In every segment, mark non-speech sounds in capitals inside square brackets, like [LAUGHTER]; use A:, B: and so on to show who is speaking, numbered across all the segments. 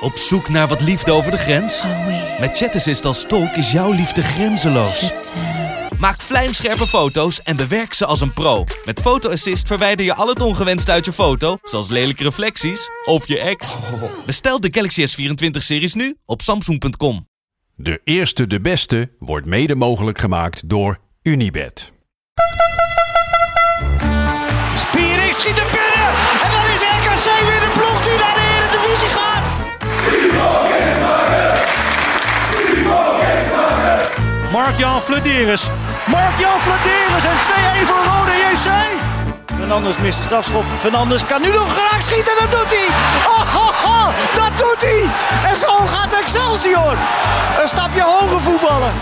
A: Op zoek naar wat liefde over de grens? Met Chat Assist als tolk is jouw liefde grenzeloos. Maak vlijmscherpe foto's en bewerk ze als een pro. Met Photo Assist verwijder je al het ongewenst uit je foto, zoals lelijke reflecties of je ex. Bestel de Galaxy S24-series nu op samsung.com.
B: De eerste de beste wordt mede mogelijk gemaakt door Unibed.
C: Spiering schiet er binnen. En dan is RKC weer de ploeg die naar de Eredivisie gaat. Mark-Jan Flederis. Mark-Jan Flederis en 2-1 voor Rode JC. Fernandes mist de strafschop. Fernandes kan nu nog graag schieten. Dat doet hij. Oh, ho, ho, dat doet hij. En zo gaat Excelsior. Een stapje hoger voetballen.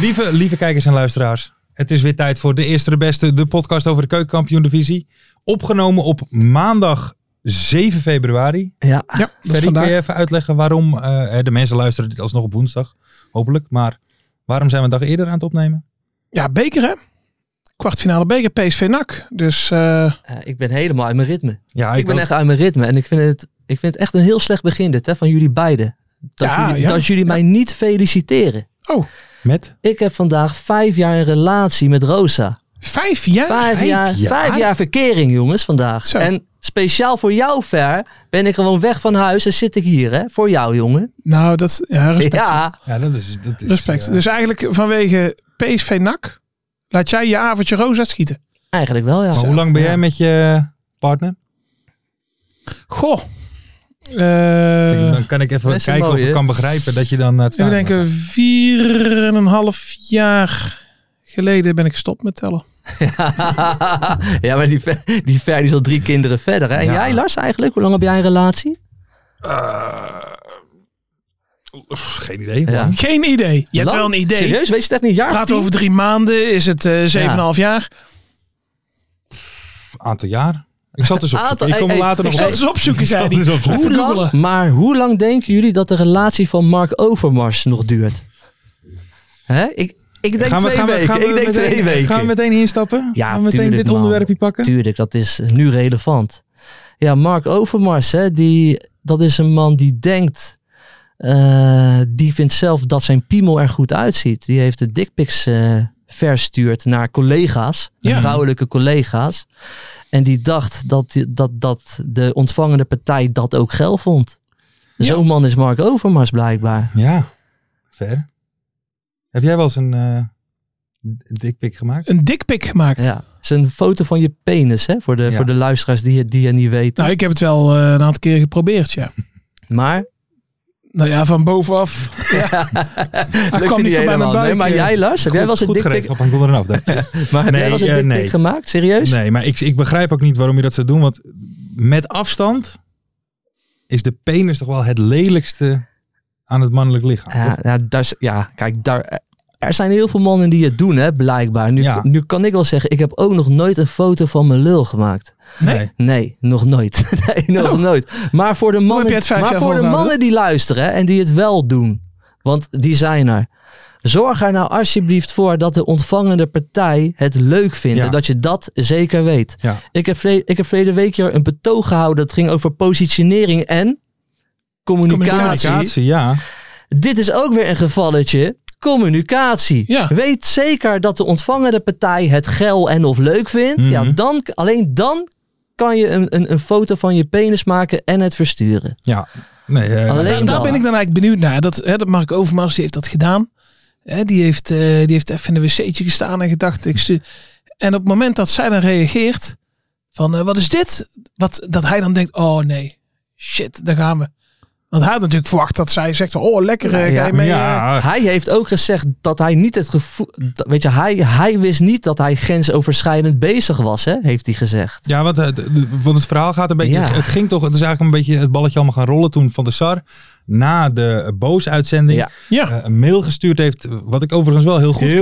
D: Lieve, lieve kijkers en luisteraars, het is weer tijd voor de eerste de beste, de podcast over de keukenkampioen divisie. Opgenomen op maandag 7 februari.
E: Ja,
D: Ferry, kun je even uitleggen waarom, eh, hè, de mensen luisteren dit alsnog op woensdag, hopelijk, maar waarom zijn we een dag eerder aan het opnemen?
E: ja, beker hè? Kwartfinale beker, PSV NAC. Dus eh,
F: Eh, ik ben helemaal uit mijn ritme.
D: Ja,
F: ik ben echt uit mijn ritme. En ik vind het, ik vind het echt een heel slecht begin dit, hè, van jullie beiden. Dat
E: Ja,
F: jullie,
E: ja.
F: dat jullie mij niet feliciteren.
E: oh,
D: met.
F: Ik heb vandaag vijf jaar een relatie met Rosa.
E: vijf jaar.
F: Vijf, jaar, vijf jaar verkering, jongens, vandaag.
E: Zo.
F: En speciaal voor jou, Ver, ben ik gewoon weg van huis en zit ik hier, hè? Voor jou, jongen.
E: Nou, [LAUGHS] dat ja, respect.
F: Ja,
D: Ja, dat is... Dat is
E: respect.
D: eh,
E: Dus eigenlijk vanwege PSV NAC laat jij je avondje roos uitschieten.
F: eigenlijk wel, ja.
D: maar hoe lang ben jij met je partner?
E: Goh.
D: Kijk,
E: Eh
D: dan kan ik even
F: dat is
D: kijken
F: mooi,
D: of ik
F: hè?
D: kan begrijpen dat je dan naar het
E: ik
D: stadion
E: denk
D: gaat.
E: een vier en een half jaar geleden ben ik gestopt met tellen.
F: [LAUGHS] ja, maar die, Ver- die Ver die is al drie kinderen verder. Hè? En
D: Ja.
F: jij, Lars, eigenlijk? Hoe lang heb jij een relatie?
D: Geen idee.
F: Ja.
D: man.
E: Geen idee. Je hebt
F: Lang?
E: wel een idee.
F: Serieus, weet je het echt niet? Een Jaar of
E: Praat
F: tien?
E: over drie maanden, is het eh, zeven en een half jaar.
D: Aantal jaar. Ik zat dus op.
F: Aantal-
D: ik kom
F: hey,
D: later
F: hey,
D: nog op.
E: Ik zal het eens opzoeken, zei hij.
D: Ik zal het eens
E: Even
F: Hoe lang-
E: googelen.
F: maar hoe lang denken jullie dat de relatie van Mark Overmars nog duurt? Hè? Ik, ik denk twee weken. ik denk
D: meteen,
F: twee weken.
D: Gaan we meteen instappen?
F: Ja,
D: gaan we meteen
F: tuurlijk,
D: dit
F: man.
D: onderwerpje pakken?
F: Tuurlijk, dat is nu relevant. Ja, Mark Overmars, hè, die, dat is een man die denkt... eh, die vindt zelf dat zijn piemel er goed uitziet. Die heeft de dickpics eh, verstuurd naar collega's.
E: Ja.
F: Vrouwelijke collega's. En die dacht dat, die- dat, dat de ontvangende partij dat ook geil vond.
E: Ja.
F: Zo'n man is Mark Overmars blijkbaar.
D: Ja, ver. Heb jij wel eens een eh dikpik gemaakt?
E: Een dikpik gemaakt.
F: Ja. Het is een foto van je penis, hè? Voor de,
D: Ja.
F: voor de luisteraars die het, die het niet weten.
E: Nou, ik heb het wel eh, een aantal keer geprobeerd, ja.
F: Maar
E: Nou ja, van bovenaf.
F: [LAUGHS]
E: [LAUGHS]
F: Lukte
E: kwam niet voorbij mijn buik,
F: Nee, maar
E: eh.
F: jij, Lars, heb jij wel eens een
D: goed
F: dikpik
D: geregeld, maar ik kon er een afdeling.
F: maar
D: [LAUGHS]
F: heb
D: Nee,
F: jij wel eens
D: eh,
F: een dikpik
D: nee.
F: gemaakt? Serieus?
D: Nee, maar ik, ik begrijp ook niet waarom je dat zou doen. Want met afstand is de penis toch wel het lelijkste aan het mannelijk lichaam.
F: Ja, ja, daar, is- ja, kijk, daar, er zijn heel veel mannen die het doen, hè, blijkbaar. Nu,
D: Ja.
F: nu kan ik wel zeggen, ik heb ook nog nooit een foto van mijn lul gemaakt.
D: Nee.
F: Nee, nog nooit. [LAUGHS] Nee, nog
E: Oh.
F: nooit. Maar voor de
E: heb
F: mannen,
E: je het vijf
F: maar
E: jaar
F: voor de
E: volgehouden?
F: mannen die luisteren hè, en die het wel doen, want die zijn er. Zorg er nou alsjeblieft voor dat de ontvangende partij het leuk vindt.
D: Ja.
F: En dat je dat zeker weet.
D: Ja.
F: Ik, heb vle- ik heb verleden week hier een betoog gehouden. Dat ging over positionering en communicatie.
D: Communicatie, ja.
F: Dit is ook weer een gevalletje. Communicatie.
E: Ja.
F: Weet zeker dat de ontvangende partij het geil en of leuk vindt.
D: Mhm.
F: ja, dan, alleen dan kan je een, een, een foto van je penis maken en het versturen.
D: Ja. Nee, eh,
F: Alleen
E: Daar ben ik dan eigenlijk benieuwd naar. Dat, hè, dat Mark Overmars die heeft dat gedaan. Hè, die, heeft, eh, die heeft even in een wc'tje gestaan en gedacht. Ik stu- en op het moment dat zij dan reageert. Van eh, wat is dit? Wat, dat hij dan denkt. Oh nee. Shit, daar gaan we. Want hij had natuurlijk verwacht dat zij zegt, van, oh lekker, eh,
F: Ja,
E: ga je mee. eh,
D: ja,
F: Hij heeft ook gezegd dat hij niet het gevoel. dat- Weet je, hij, hij wist niet dat hij grensoverschrijdend bezig was, hè, heeft hij gezegd.
D: ja want, het, want het verhaal gaat een beetje.
F: Ja.
D: Het ging toch. Het is eigenlijk een beetje het balletje allemaal gaan rollen toen van de SAR. Na de Boos-uitzending.
F: Ja.
E: Ja.
D: eh, een mail gestuurd heeft. Wat ik overigens wel heel goed vind.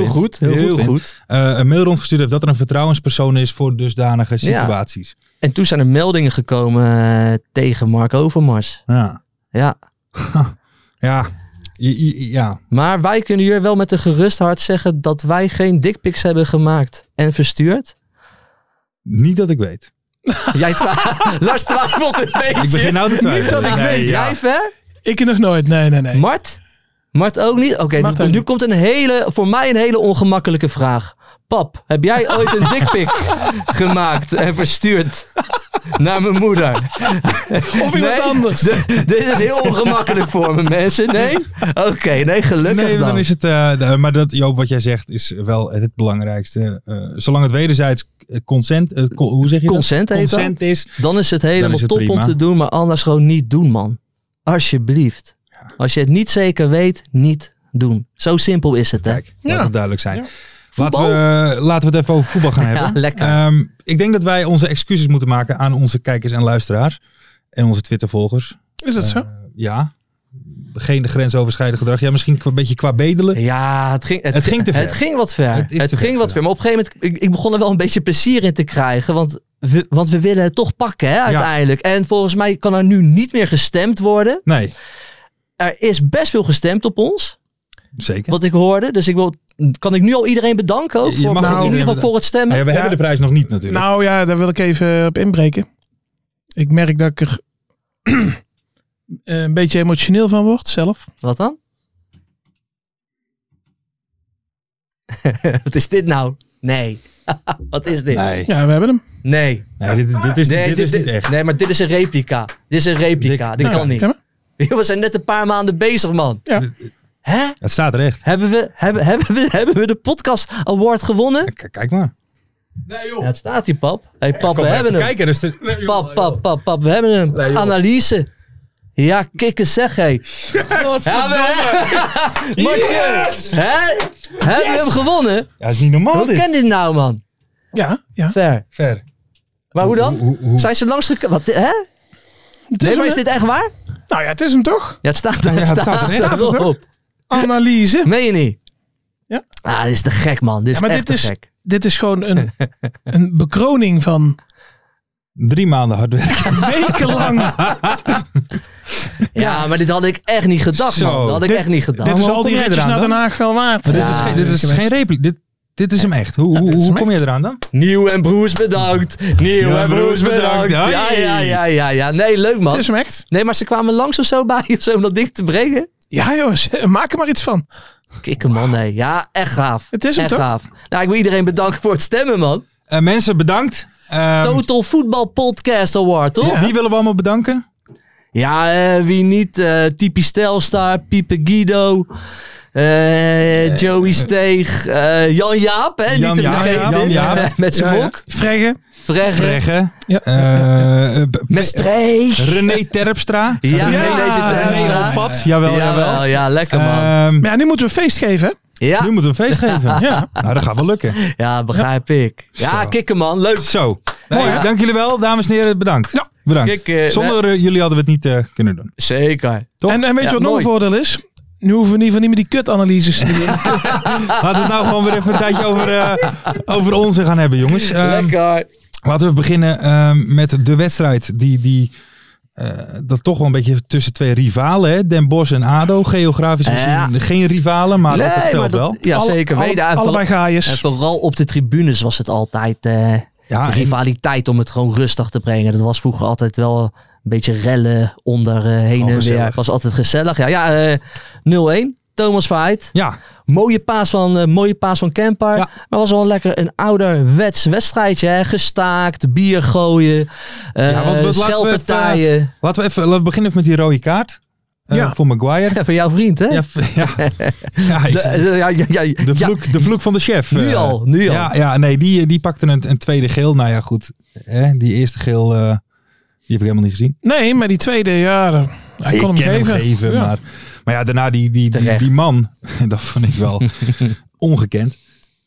D: Heel, goed. vind. Eh, een mail rondgestuurd heeft dat er een vertrouwenspersoon is voor dusdanige situaties.
F: En toen zijn er meldingen gekomen eh, tegen Mark Overmars.
D: Ja.
F: Ja.
D: Ja. Je- je- ja.
F: Maar wij kunnen hier wel met een gerust hart zeggen dat wij geen dickpics hebben gemaakt
D: [LAUGHS]
F: en verstuurd.
D: Niet dat ik weet.
F: Jij twa [LAUGHS] Lars twijfelt een beetje.
D: Ik begin nou te
F: Niet dat
D: twijfelen.
F: ik
D: Nee,
F: weet.
D: ja.
F: Jij ver?
E: Ik nog nooit, nee, nee, nee.
F: Mart? Mart ook niet? Oké,
E: Mart
F: nu,
E: ook
F: nu
E: niet.
F: komt een hele, voor mij een hele ongemakkelijke vraag. Pap, heb jij ooit
D: [LAUGHS]
F: een dickpic gemaakt en verstuurd naar mijn moeder?
D: [LAUGHS]
E: of iemand anders.
F: D- dit is heel ongemakkelijk voor me, mensen. Nee? Oké, nee, gelukkig
D: nee,
F: dan.
D: dan is het. eh, de- maar dat, Joop, wat jij zegt is wel het, het belangrijkste. Eh, zolang het wederzijds consent. eh, co- hoe zeg je dat?
F: Consent heet dat.
D: Consent is.
F: Dan is het helemaal
D: Dan is het
F: top om
D: prima.
F: te doen, maar anders gewoon niet doen, man. Alsjeblieft. Als je het niet zeker weet, niet doen. Zo simpel is het, hè?
D: Kijk, laat het duidelijk zijn. Laten
F: Voetbal?
D: we, eh, laten we het even over voetbal gaan
F: [LAUGHS] Ja,
D: hebben.
F: lekker.
D: Ehm, ik denk dat wij onze excuses moeten maken aan onze kijkers en luisteraars. En onze Twitter-volgers.
E: Is dat zo?
D: Ja. Geen grensoverschrijdend gedrag. Ja, misschien een beetje qua bedelen.
F: Ja, het ging,
D: Het ging te ver.
F: Het ging wat ver.
D: Het
F: Het,
D: is te
F: ging
D: ver,
F: wat
D: ja.
F: ver. Maar op een gegeven moment, ik, ik begon er wel een beetje plezier in te krijgen. Want we, want we willen het toch pakken, hè, uiteindelijk. En volgens mij kan er nu niet meer gestemd worden.
D: Nee,
F: Er is best veel gestemd op ons,
D: zeker.
F: wat ik hoorde. Dus ik wil, kan ik nu al iedereen bedanken ook?
D: Je
F: Voor,
D: mag
F: voor-
D: ook
F: in ieder
D: iedereen
F: geval voor het stemmen.
D: Nou ja, we
E: Ja.
D: hebben de prijs nog niet natuurlijk.
E: Nou ja, daar wil ik even op inbreken. Ik merk dat ik er [CLEARS THROAT] eh, een beetje emotioneel van word zelf.
F: Wat dan? [LAUGHS] wat is dit nou? Nee. [LAUGHS] wat is dit?
B: Nee.
E: Ja, we hebben hem.
F: Nee.
D: Nee, dit, dit is,
F: Nee,
D: dit is niet echt.
F: Nee, maar dit is een replica. Dit is een replica.
D: Dik-
F: dit
E: Nou
F: kan
E: ja,
F: niet.
E: zeg maar.
F: We zijn net een paar maanden bezig, man.
E: Ja.
F: Hè?
D: Het staat recht.
F: Hebben we, hebben, [LAUGHS] hebben, we, hebben we de podcast award gewonnen?
D: K- kijk maar.
F: Ja, het staat hier, pap. Hé, hey, pap,
D: Kom
F: we
D: maar
F: hebben
D: even
F: hem.
D: kijken. Dus de-
F: Pap, pap, pap, pap, we hebben hem. Analyse. Ja, kikken zeg, hé. Ja, we hebben Yes! Hè? Hebben we hem gewonnen?
D: Ja, is niet normaal
F: Hoe
D: dit.
F: ken dit nou, man?
E: Ja, ja.
F: Ver.
D: Ver.
F: Maar hoe dan?
D: Hoe- hoe-
F: Zijn ze langsgekomen? Wat, hè?
E: Het is
F: Nee,
E: hem,
F: maar is
E: hè?
F: dit echt waar?
E: Nou ja, het is hem toch?
F: Ja, het staat
D: Ja,
F: er.
D: het
F: het
D: staat er,
F: staat
D: hè?
F: er
E: Staat het, hè?
F: op.
E: Analyse.
F: Meen je niet?
E: Ja.
F: Ah, dit is te gek, man. Dit is
E: Ja, maar
F: echt
E: dit
F: te
E: is,
F: gek.
E: dit is gewoon een, een bekroning van
D: Drie maanden hard werken.
E: wekenlang.
F: Ja, maar dit had ik echt niet gedacht,
D: Zo.
F: man. Dat had ik
D: Dit-
F: echt niet gedacht.
E: Dit is
D: hoe
E: al
D: dus kom
E: die
D: jij
E: ritjes
D: eraan
E: naar
D: dan?
E: Den Haag wel waard.
D: dit is,
F: Ja,
D: geen- dit is
E: ik heb
D: geen repliek. Dit, dit is hem echt. Hoe, hoe,
E: dit is
D: hoe
E: hem
D: kom je eraan dan?
F: Nieuw en Broes bedankt. Nieuw
D: Ja,
F: en
D: Broes
F: Broes bedankt.
D: bedankt.
F: Ja,
D: Hey.
F: ja, ja, ja, ja. Nee, leuk,
E: Het
F: man.
E: is hem echt.
F: Nee, maar ze kwamen langs of zo bij je of zo om dat ding te brengen.
E: Ja jongens, maak er maar iets van.
F: Kikken, man. Nee. Ja, echt gaaf.
E: Het is hem
F: echt
E: toch?
F: gaaf. Nou, ik wil iedereen bedanken voor het stemmen, man.
D: Eh, mensen, bedankt. Ehm,
F: Total Voetbal Podcast Award, toch?
D: Wie willen we allemaal bedanken?
F: Ja, eh, wie niet? eh typisch Telstar, Piepe Guido, eh, Joey Steeg, eh, Jan Jaap, hè?
D: Jan
F: niet te
D: Jaap,
F: vergeten.
D: Jan Jaap.
F: [LAUGHS] Met zijn
E: Ja, ja.
F: mok.
E: Freggen.
F: Fregge.
D: Regge.
E: Ja.
D: Eh, eh, b-
F: Met Streeg.
D: René Terpstra.
F: [LAUGHS] Ja,
D: René-
F: René Terpstra.
D: René op pad. Jawel,
F: Jawel,
D: jawel.
F: ja, lekker man.
D: Ehm,
E: Maar ja, nu moeten we een feest geven. hè?
F: ja,
D: nu moeten we een feest geven. ja. Nou, dat gaat wel lukken.
F: ja, begrijp ik. Ja,
D: Zo.
F: kikken man, leuk.
D: Zo. Mooi.
F: Ja.
D: Dank jullie wel, dames en heren. Bedankt. bedankt.
F: Kijk, eh,
D: Zonder eh, jullie hadden we het niet eh, kunnen doen.
F: Zeker.
D: Toch?
E: En, en weet je
F: Ja,
E: wat nog
F: mooi.
E: een voordeel is? Nu hoeven we in ieder geval niet meer die kutanalyses te doen.
F: Ah.
D: Laten we het nou gewoon weer even een tijdje over, eh, over ons gaan hebben, jongens. Ehm,
F: lekker.
D: laten we beginnen ehm, met de wedstrijd die... die eh, dat toch wel een beetje tussen twee rivalen, hè? Den Bosch en ADO. Geografisch gezien
F: Ja.
D: geen rivalen, maar op het
F: Nee,
D: veld
F: maar
D: wel.
F: dat, ja,
E: Alle-
F: zeker.
E: alle-
F: Weten. En vooral-
E: allebei
F: en
E: gaaiers.
F: vooral op de tribunes was het altijd eh,
D: Ja, en-
F: rivaliteit om het gewoon rustig te brengen. Dat was vroeger altijd wel een beetje rellen onder eh, heen
D: Gewoon
F: en weer.
D: gezellig.
F: Het was altijd gezellig. Ja, ja eh, 0-1. Thomas Verheid.
D: ja,
F: Mooie paas van, eh, mooie paas van Kempar.
D: Ja.
F: Maar was wel lekker een ouderwets wedstrijdje. Hè? Gestaakt, bier gooien, eh
D: Ja, want wat- laten we even-
F: schelpartijen.
D: laten we even laten we beginnen even met die rode kaart eh,
E: Ja.
D: voor
F: [LAUGHS]
D: Maguire.
F: [LAUGHS] Ja, van jouw vriend, hè?
D: Ja, f- ja. [LAUGHS] Ja, ik-
F: De- eh, ja, ja, ja, ja.
D: De vloek, de vloek van de chef.
F: Nu
D: eh.
F: al, nu al.
D: Ja, ja nee, die, eh, die pakte een, een tweede geel. Nou ja, goed. Hè, die eerste geel, eh, die heb ik helemaal niet gezien.
E: Nee, maar die tweede, ja, dat- Hij
D: ik
E: kon hem
D: ken
E: geven. Ja.
D: maar, maar ja, daarna die, die, die,
F: Terecht.
D: die man, [LAUGHS] dat vond ik
F: [LAUGHS]
D: wel ongekend.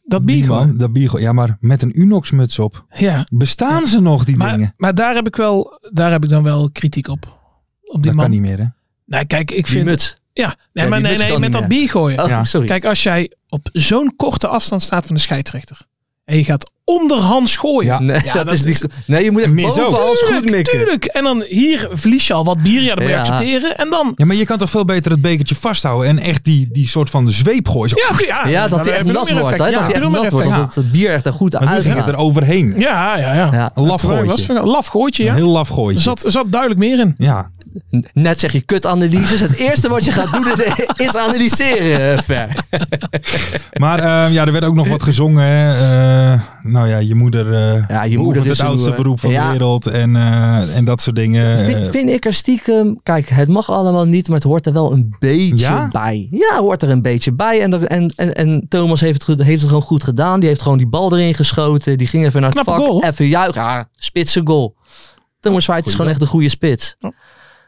E: Dat
D: Die
E: Bigo.
D: man, dat Bigo, ja, maar met een Unox-muts op.
E: Ja.
D: Bestaan ze nog, die
E: Maar,
D: dingen?
E: maar daar, heb ik wel, daar heb ik dan wel kritiek op. Op die
D: dat
E: man.
D: kan niet meer, hè?
E: Nou, kijk, ik
F: Die
E: vind.
F: muts.
E: Ja, nee,
F: Ja, die
E: maar nee,
F: muts
E: nee,
F: kan
E: met
F: niet
E: dat
F: meer.
E: bier gooien.
F: Oh,
D: Ja.
F: sorry.
E: Kijk, als jij op zo'n korte afstand staat van de scheidsrechter. en je gaat onderhands gooien.
D: Ja.
F: Nee,
E: Ja,
F: dat
E: dat
F: is niet... Nee, je moet echt
D: Mis ook.
F: bovenals goed
E: Tuurlijk,
F: mikken.
E: tuurlijk. En dan hier verlies je al wat bier. Ja, dat moet je
F: Ja.
E: accepteren. En dan.
D: Ja, maar je kan toch veel beter het bekertje vasthouden en echt die, die soort van zweep gooien. Zo,
E: Ja, tu- ja,
F: Ja,
E: dan
F: dat hij
E: heb
F: echt
E: je nog
F: nat
E: meer
F: wordt. hè,
E: effect.
F: Dat hij
E: Ja, heb
F: echt
E: je
F: nat
E: nog meer
F: wordt.
E: effect.
F: Dat het bier echt er goed
D: maar nu
F: uit
D: ging het er overheen.
E: Ja, ja, ja.
F: Ja.
D: Een laf
E: Dat was-
D: gooitje.
E: was- Laf gooitje,
D: Een
E: ja.
D: heel laf
E: Er
D: gooitje.
E: zat, er zat duidelijk meer in.
D: Ja,
F: Net zeg je kut-analyses. Het eerste wat je gaat doen is, [LAUGHS] is analyseren, eh, Fer.
D: maar eh, ja, er werd ook nog wat gezongen. hè. Eh, nou ja, je moeder, eh
F: Ja, je
D: beoefent
F: moeder is
D: het
F: een
D: oudste
F: hoer.
D: beroep van
F: Ja.
D: de wereld en, eh, en dat soort dingen.
F: Vind,
D: Eh,
F: vind ik er stiekem... Kijk, het mag allemaal niet, maar het hoort er wel een beetje
D: Ja?
F: bij. Ja, hoort er een beetje bij. En, er- en, en, en Thomas heeft het, goed- heeft het gewoon goed gedaan. Die heeft gewoon die bal erin geschoten. Die ging even naar het
E: Knappe
F: vak.
E: goal.
F: Even juichen. Ja, spitse goal. Thomas White is
D: goeie
F: gewoon echt een goede spits.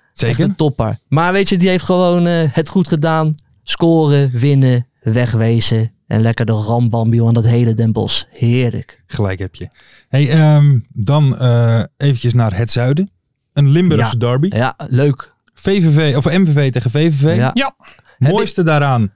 F: Echt
D: zeker.
F: een topper. Maar weet je, die heeft gewoon eh, het goed gedaan. Scoren, winnen, wegwezen. En lekker de rambambio aan dat hele Den Bosch. Heerlijk.
D: Gelijk heb je. Hey, ehm, dan eh, eventjes naar het zuiden. Een Limburgse derby.
F: Ja, leuk.
D: VVV, of MVV tegen VVV.
F: Ja.
E: Ja.
D: Mooiste daaraan.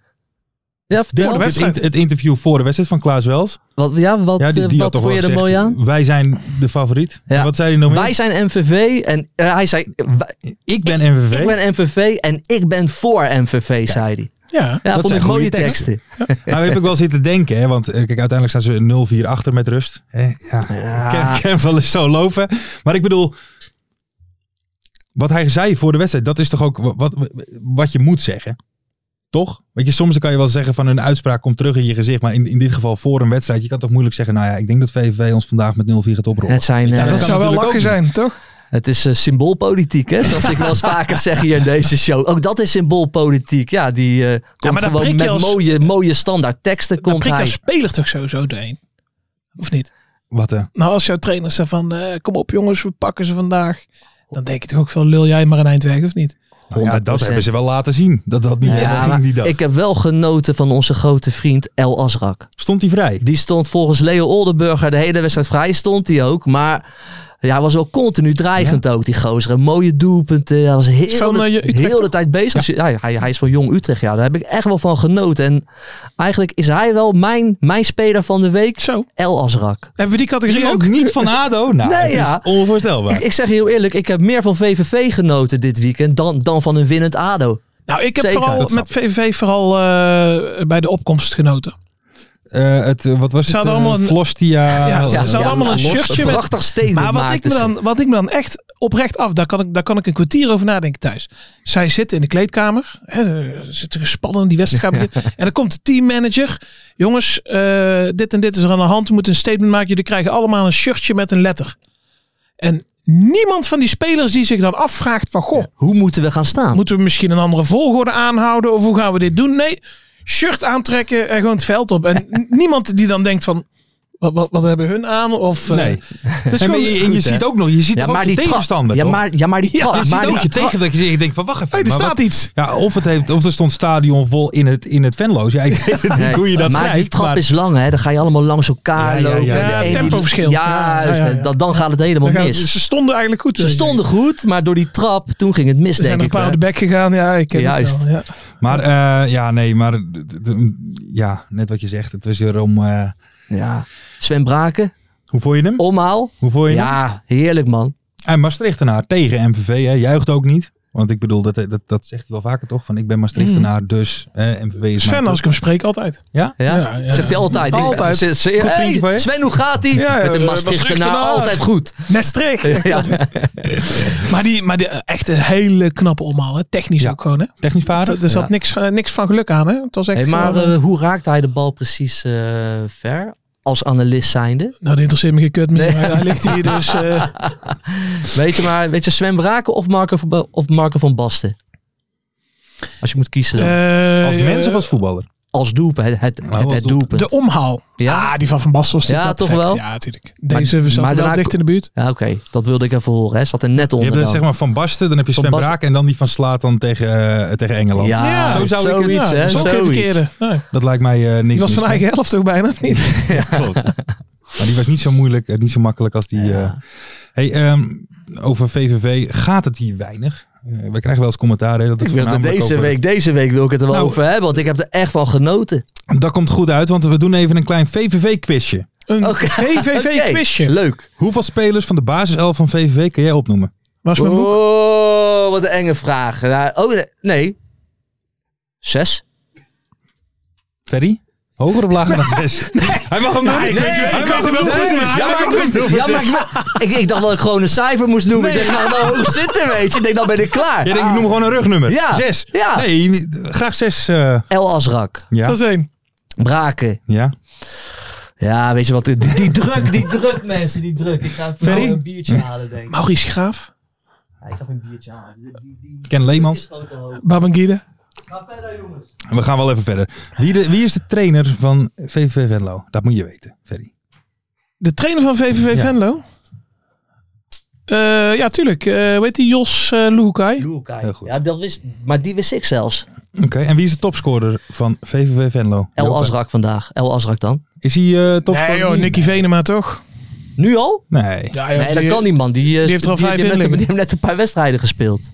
F: Ja, vertel.
D: Denk ik, het,
E: wedstrijd.
D: in- het interview voor de wedstrijd van Klaas Wels.
F: Wat, ja, wat,
D: Ja, die,
F: eh,
D: die had
F: wat
D: toch
F: vond
D: wel
F: je er
D: gezegd,
F: mooi aan?
D: Wij zijn de favoriet.
F: Ja.
D: En Wat zei hij nog
F: Wij
D: meer?
F: zijn MVV en eh, hij zei, wij-
D: Ik ben MVV.
F: ik ben MVV en ik ben voor MVV, zei hij.
E: Ja.
F: Ja,
D: Dat
F: vond
D: zijn
F: ik mooie
D: goede
F: teksten.
D: teksten. Nou heb ik wel zitten denken. Hè, want eh, kijk, uiteindelijk staan ze 0-4 achter met rust. Hè, ja,
F: Ja.
D: Ik
E: Ah.
D: ken, [LAUGHS] ik ken wel eens zo lopen. Maar ik bedoel... Wat hij zei voor de wedstrijd, dat is toch ook wa- wat, wat je moet zeggen. Toch? Weet je, soms kan je wel zeggen van een uitspraak komt terug in je gezicht. Maar in, in dit geval voor een wedstrijd, je kan toch moeilijk zeggen... Nou ja, ik denk dat VVV ons vandaag met 0-4 gaat oprollen.
F: Het, zijn, eh,
E: Ja, dat
D: kan
E: zou wel
D: natuurlijk
E: lachen
D: ook
E: zijn, toch?
F: het is eh, symboolpolitiek, hè? zoals ik wel eens vaker zeg hier in deze show. Ook dat is symboolpolitiek. Ja, die eh, komt
E: maar daar prik
F: gewoon
E: je
F: met
E: als-
F: mooie, mooie standaard teksten.
E: Dan
F: Komt
E: prikt jouw
F: hij.
E: speler toch sowieso doorheen? Of niet?
D: Wat eh,
E: Nou, als jouw trainer zegt van, eh, kom op jongens, we pakken ze vandaag. Dan denk ik toch ook veel, lul jij maar een eind weg, of niet?
D: Nou ja, dat
F: 100%.
D: hebben ze wel laten zien. Dat dat niet helemaal
F: maar
D: ging die dag.
F: ik heb wel genoten van onze grote vriend El Asrak.
D: Stond hij vrij?
F: Die stond volgens Leo Oldenburger de hele wedstrijd vrij, stond hij ook. Maar ja, hij was wel continu dreigend ook, die gozer. Een mooie doelpunten. Hij was heel,
E: Van,
F: de,
E: eh, Utrecht,
F: heel de
E: toch?
F: tijd bezig. Ja. hij, hij is van Jong Utrecht, ja. Daar heb ik echt wel van genoten. En eigenlijk is hij wel mijn, mijn speler van de week,
E: Zo.
F: El Asrak.
E: Hebben we die categorie ook?
D: ook niet van
F: [LAUGHS]
D: ADO? Nou,
F: Nee,
D: het is
F: ja.
D: onvoorstelbaar.
F: Ik, ik zeg je heel eerlijk, ik heb meer van VVV genoten dit weekend dan, dan van een winnend ADO.
E: Nou, ik heb
F: Zeker,
E: vooral
F: dat
E: met VVV vooral eh, bij de opkomst genoten.
D: Eh, het, eh, wat was het?
E: hadden
D: eh,
E: allemaal een-
D: Flostia.
E: Ja, ze
D: eh,
E: hadden allemaal een
F: los-
E: shirtje met-
F: prachtig statement
E: Maar wat ik,
F: maakten
E: me
F: ze.
E: dan, wat ik me dan echt oprecht af, daar kan, ik, daar kan ik een kwartier over nadenken thuis. Zij zitten in de kleedkamer, hè, ze zitten gespannen in die wedstrijd. gaat beginnen.
D: [LAUGHS]
E: En dan komt de teammanager. Jongens, eh, dit en dit is er aan de hand. We moeten een statement maken. Jullie krijgen allemaal een shirtje met een letter. En niemand van die spelers die zich dan afvraagt van... Goh,
F: Hoe moeten we gaan staan?
E: moeten we misschien een andere volgorde aanhouden? Of hoe gaan we dit doen? Nee, shirt aantrekken en gewoon het veld op. En
D: [LAUGHS]
E: n- niemand die dan denkt van... Wat, wat, wat hebben hun aan? Of,
D: [LAUGHS]
E: eh,
D: Nee.
E: dus
D: en maar je, en je
E: ziet
D: ziet ook nog, je ziet toch ook je
F: tra-
D: tegenstander.
F: Ja,
D: toch?
F: maar, ja, maar die
D: Ja,
F: tra-
D: je ziet
F: Oh, maar
D: ook je
F: die tra-
D: tegen dat je zegt- denkt van wacht even.
E: Hey, er
D: maar
E: staat
D: wat-
E: iets.
D: ja, of, het heeft, of er stond stadion vol in het, in het Venlo's. Ja, ik weet het niet
F: Nee,
D: hoe je dat
F: maar die
D: schrijft,
F: trap
D: maar-
F: is lang, hè? Dan ga je allemaal langs elkaar
D: Ja, ja, ja,
F: lopen.
D: ja,
F: De
D: ja,
F: een die-
E: tempoverschil.
F: Ja,
E: Ja,
F: juist,
E: ja, ja.
F: Dan, dan gaat het helemaal
E: Dan gaan-
F: mis.
E: Ze stonden eigenlijk goed.
F: Ze stonden goed, maar door die trap, toen ging het mis,
E: Ze zijn
F: denk
E: nog
F: ik.
E: een paar op
F: hè.
E: de bek gegaan. Ja, ik ken
F: Juist.
E: het wel. Ja.
D: Maar eh, ja, nee, maar d- d- d- ja, net wat je zegt. Het was weer om... eh,
F: Ja. Sven Braken,
D: hoe voel je hem?
F: omhaal.
D: Hoe voel je hem?
F: Ja, heerlijk, man.
D: En Maastrichtenaar tegen MVV, hè, juicht ook niet. Want ik bedoel, dat, dat, dat zegt hij wel vaker toch? Van ik ben Maastrichtenaar,
F: Mm.
D: dus eh, MVV is
E: Sven,
D: mijn
E: als ik hem spreek, altijd.
D: Ja?
F: Ja?
E: Ja, ja.
F: Zegt hij altijd.
E: Altijd.
F: Ze- ze-
D: Goed vriendje
F: hey,
D: van je.
F: Sven, hoe gaat hij?
E: Ja, ja,
F: Met een
E: eh,
F: Maastrichtenaar
E: Maastrichtenaar.
F: nou altijd
E: [LAUGHS]
F: goed.
E: Maastricht.
F: Ja.
E: Maar, die, maar die, eh, echt een hele knappe omhaal. hè. Technisch
D: Ja.
E: ook gewoon. Hè.
D: Technisch vader.
E: Er zat
F: Ja.
E: niks, eh, niks van geluk aan. Hè. Het was echt
F: Hey, maar
E: gewoon, eh,
F: eh, hoe raakte hij de bal precies eh, ver? Als analist zijnde.
E: nou, die interesseert me gekut meer.
F: Nee.
E: maar Hij ligt hier
F: [LAUGHS]
E: dus... eh,
F: Weet je maar, weet je Sven Braken of Marco, van Ba- of Marco van Basten? Als je moet kiezen. dan.
E: eh,
D: Als mens
E: eh,
D: of als voetballer?
F: als doelpunt. Het, het, het,
D: als
F: het
D: doelpunt.
F: doelpunt.
E: De omhaal.
F: Ja.
E: Ja, die van Van Basten was
F: Ja,
E: natuurlijk
F: toch
E: vet.
F: wel?
E: Ja, natuurlijk. Deze
F: Maar-
E: zat
F: maar
E: wel
F: daarna-
E: dicht in de buurt.
F: Ja, oké. Dat wilde ik even horen. Hè. Zat er net
D: Je
F: onder
D: hebt dan
F: dan.
D: zeg maar Van Basten, dan heb je
F: Van
D: Sven
F: Basten.
D: Braak en dan die van Slatan tegen, eh, tegen Engeland.
F: Ja,
E: zo
F: Ah, zou
D: ik het-
F: zoiets, hè,
E: Ja, dat is ook geen
F: zoiets.
E: verkeerde. Nee.
D: Dat lijkt mij eh, niks.
E: Die was van
D: mis.
E: eigen helft ook bijna. of niet?
F: [LAUGHS]
D: Klopt. Maar die was niet zo moeilijk, eh, niet zo makkelijk als die. eh. Hey, ehm, over VVV gaat het hier weinig. Eh, we krijgen wel eens commentaar. hè, dat het
F: Ik wil het er
D: voornamelijk
F: deze,
D: over-
F: week, deze week wil ik het er wel
D: Nou,
F: over hebben, want ik heb er echt van genoten.
D: Dat komt goed uit, want we doen even een klein VVV-quizje.
E: Een
F: Oké. Oké,
E: VVV-quizje.
F: Leuk.
D: Hoeveel spelers van de basiself van VVV kun jij opnoemen?
E: Was mijn boek.
F: Oh, wat een enge vraag. Ja, oh, nee. nee. Zes?
D: Ferry? Hoger of lager dan
F: [LAUGHS]
D: zes? Hij mag hem doen.
F: Nee,
D: Hij
F: ik
D: mag
F: kan
D: hem
F: het
D: doen.
F: wel doen. Ja,
D: Hij
F: maar
D: mag hem
F: ik
D: doen.
F: wist- ja, maar ik wist- ik- Ik dacht dat ik gewoon een cijfer moest noemen. Ik dacht, nou, nou hoog zitten, weet je. Ik denk, dan ben ik klaar.
D: Je denkt, ik noem gewoon een rugnummer.
F: Ja.
D: Zes.
F: Ja.
D: Nee, graag zes. eh,
F: El Azrak.
D: ja.
E: Dat is één.
F: Braken.
D: ja.
F: Ja, weet je wat? Die, die druk, die druk, mensen, die druk. Ik ga
D: Ferry?
F: vooral een biertje halen, denk ik.
E: Maurice Graaf.
F: Ja, ik ga even een biertje halen. Die- die- die-
D: Ken Leemans.
F: die is gewoon te hoog.
E: Babangida.
F: Ga verder, jongens.
D: We gaan wel even verder. Wie, de, wie is de trainer van VVV Venlo? Dat moet je weten, Ferry.
E: De trainer van VVV
D: Ja.
E: Venlo. Eh, ja, tuurlijk. Eh weet die Jos eh Loekai?
F: Doe elkaar.
D: Heel goed.
F: Ja, dat wist, maar die wist ik zelfs.
D: Oké, en wie is de topscorer van VVV Venlo?
F: El
D: Joppe.
F: Azrak vandaag. El Azrak dan.
D: Is hij eh, topscorer?
E: Nee joh, Nicky Venema toch?
F: Nu al?
D: Nee,
E: Ja, joh,
F: Nee, dat
E: die-
F: kan die man. Die, eh,
E: die heeft er al vijf
F: die,
E: in
F: net,
E: liggen.
F: die heeft net een paar wedstrijden gespeeld.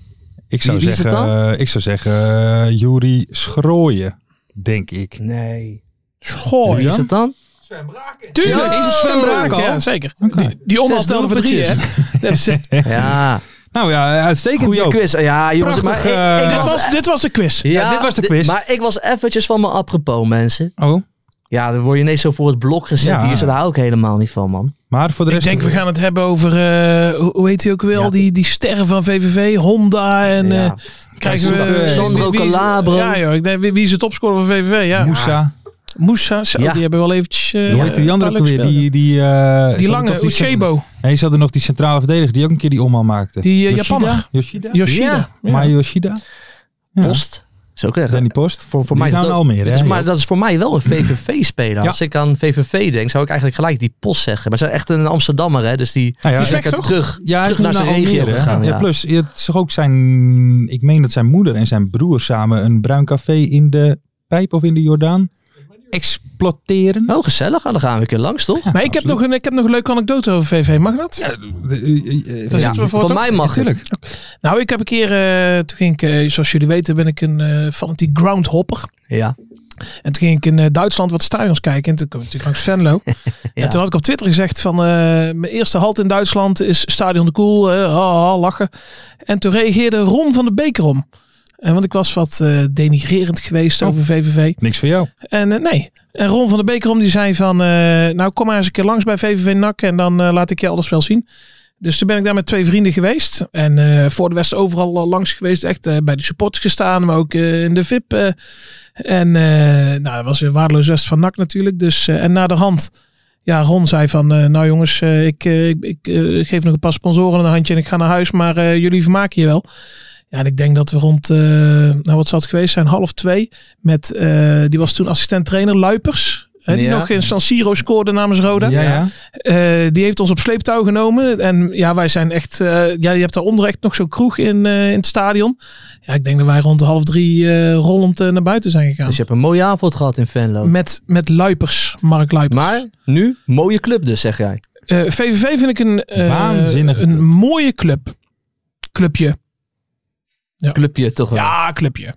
D: ik zou
F: Wie- wie is
D: zeggen,
F: het
D: eh, ik zou zeggen eh, Juri Schrooien, denk ik.
F: Nee.
E: Schooi.
F: Wie is het dan?
E: Tuurlijk.
D: Is het Sven Braak al?
E: Ja, zeker.
D: Oké.
E: Die, die omhaal
F: Zes
E: telde voor drie, hè? [LAUGHS] Dat is- eh,
F: Ja.
D: Nou ja, uitstekend
F: Goeie
D: Joop.
F: quiz. Ja, jongens.
D: Prachtig,
F: maar ik, ik
D: eh,
E: dit, was, dit was de quiz.
F: ja,
D: dit was de
F: di-
D: quiz.
F: Maar ik was eventjes van mijn apropos, mensen.
D: Oh,
F: Ja, dan word je ineens zo voor het blok gezet.
D: Ja.
F: Hier zit daar ook helemaal niet van, man.
D: maar voor de
E: Ik
D: rest...
E: denk, we gaan het hebben over, eh, hoe- hoe heet hij ook wel,
D: Ja.
E: die, die sterren van VVV, Honda en... eh,
F: Ja.
E: Krijgen
D: Kijk,
E: we
F: Sandro
E: eh, wie- wie is-
F: Calabro.
E: Ja, joh, ik denk, wie, wie is het topscorer van VVV? Ja. Ah,
D: Moussa.
E: Moussa, zo,
F: Ja.
E: die hebben wel eventjes... eh,
D: Hoe heet die andere
E: een
D: ook
E: paar
D: weer?
E: leuke
D: Die,
E: spelers.
D: die, eh, ze
E: die
D: hadden
E: lange,
D: toch die-
E: Uchebo.
D: Nee, ze hadden nog die centrale verdediger die ook een keer die omhaal maakte.
E: Die, eh,
D: Yoshida?
E: Japanner.
D: Yoshida?
E: Yoshida. Ja.
D: Maar Yoshida? Ja.
F: Post. Is ook echt.
D: Danny Post? Voor,
F: Voor mij
D: die
F: is
D: is
F: dat-
D: Almere,
F: het
D: hè?
F: is, maar
D: Joop?
F: dat is voor mij wel een VVV-speler.
D: Ja.
F: Als ik aan VVV denk, zou ik eigenlijk gelijk die post zeggen. Maar ze is echt een Amsterdammer, hè? Dus die,
D: Nou ja,
F: die is
D: ik-
F: lekker
E: toch?
F: terug,
D: Ja, hij is
F: terug
D: nu
F: naar
D: naar
F: zijn
D: Almere
F: regio gegaan.
D: gegaan. Ja.
F: Ja.
D: plus het is toch ook zijn, ik meen dat zijn moeder en zijn broer samen een bruin café in de pijp of in de Jordaan exploiteren.
F: Oh, gezellig. Ah, Dan gaan we een keer langs, toch?
E: Maar ik heb, nog een, ik heb nog een leuke anekdote over VVV, mag dat?
D: eh, Ja,
E: zitten we voor
F: van
E: het
F: mij mag het.
D: natuurlijk.
E: Nou, ik heb een keer, eh, toen ging ik, eh, zoals jullie weten, ben ik een eh fanatiek groundhopper.
F: Ja.
E: En toen ging ik in eh, Duitsland wat stadions kijken. En toen kwam ik natuurlijk langs Venlo.
F: Ja.
E: En toen had ik op Twitter gezegd van eh, mijn eerste halt in Duitsland is Stadion de Koel. eh, ha, ha, lachen. En toen reageerde Ron van de Beker om. En want ik was wat eh, denigrerend geweest over VVV.
D: Niks voor jou.
E: En eh, nee. En Ron van de Bekerom die zei van, eh, nou kom maar eens een keer langs bij VVV NAC en dan eh, laat ik je alles wel zien. Dus toen ben ik daar met twee vrienden geweest. En eh, voor de West overal al langs geweest. Echt eh, bij de supporters gestaan, maar ook eh, in de VIP. eh. en eh, nou, dat was weer waardeloos West van NAC natuurlijk. Dus, eh, en na de hand, ja, Ron zei van, eh, nou jongens, eh, ik, eh, ik, ik eh, geef nog een paar sponsoren een handje en ik ga naar huis. Maar eh, jullie vermaken je wel. Ja, en ik denk dat we rond, eh, nou wat zou het geweest zijn, half twee met, eh, die was toen assistent trainer Luipers. Hè, die
F: Ja.
E: nog in San Siro scoorde namens Roda.
D: Ja, ja.
E: Eh, die heeft ons op sleeptouw genomen. En ja, wij zijn echt. eh, ja, je hebt daaronder echt nog zo'n kroeg in, eh, in het stadion. Ja, ik denk dat wij rond half drie eh, rollend eh, naar buiten zijn gegaan.
F: Dus je hebt een mooie avond gehad in Venlo.
E: met, met Luipers, Mark Luipers.
F: Maar nu, mooie club dus, zeg jij.
E: Eh, VVV vind ik een, eh,
D: Waanzinnige
E: een
D: club.
E: mooie club. Clubje.
F: Clubje toch wel.
E: Ja, clubje.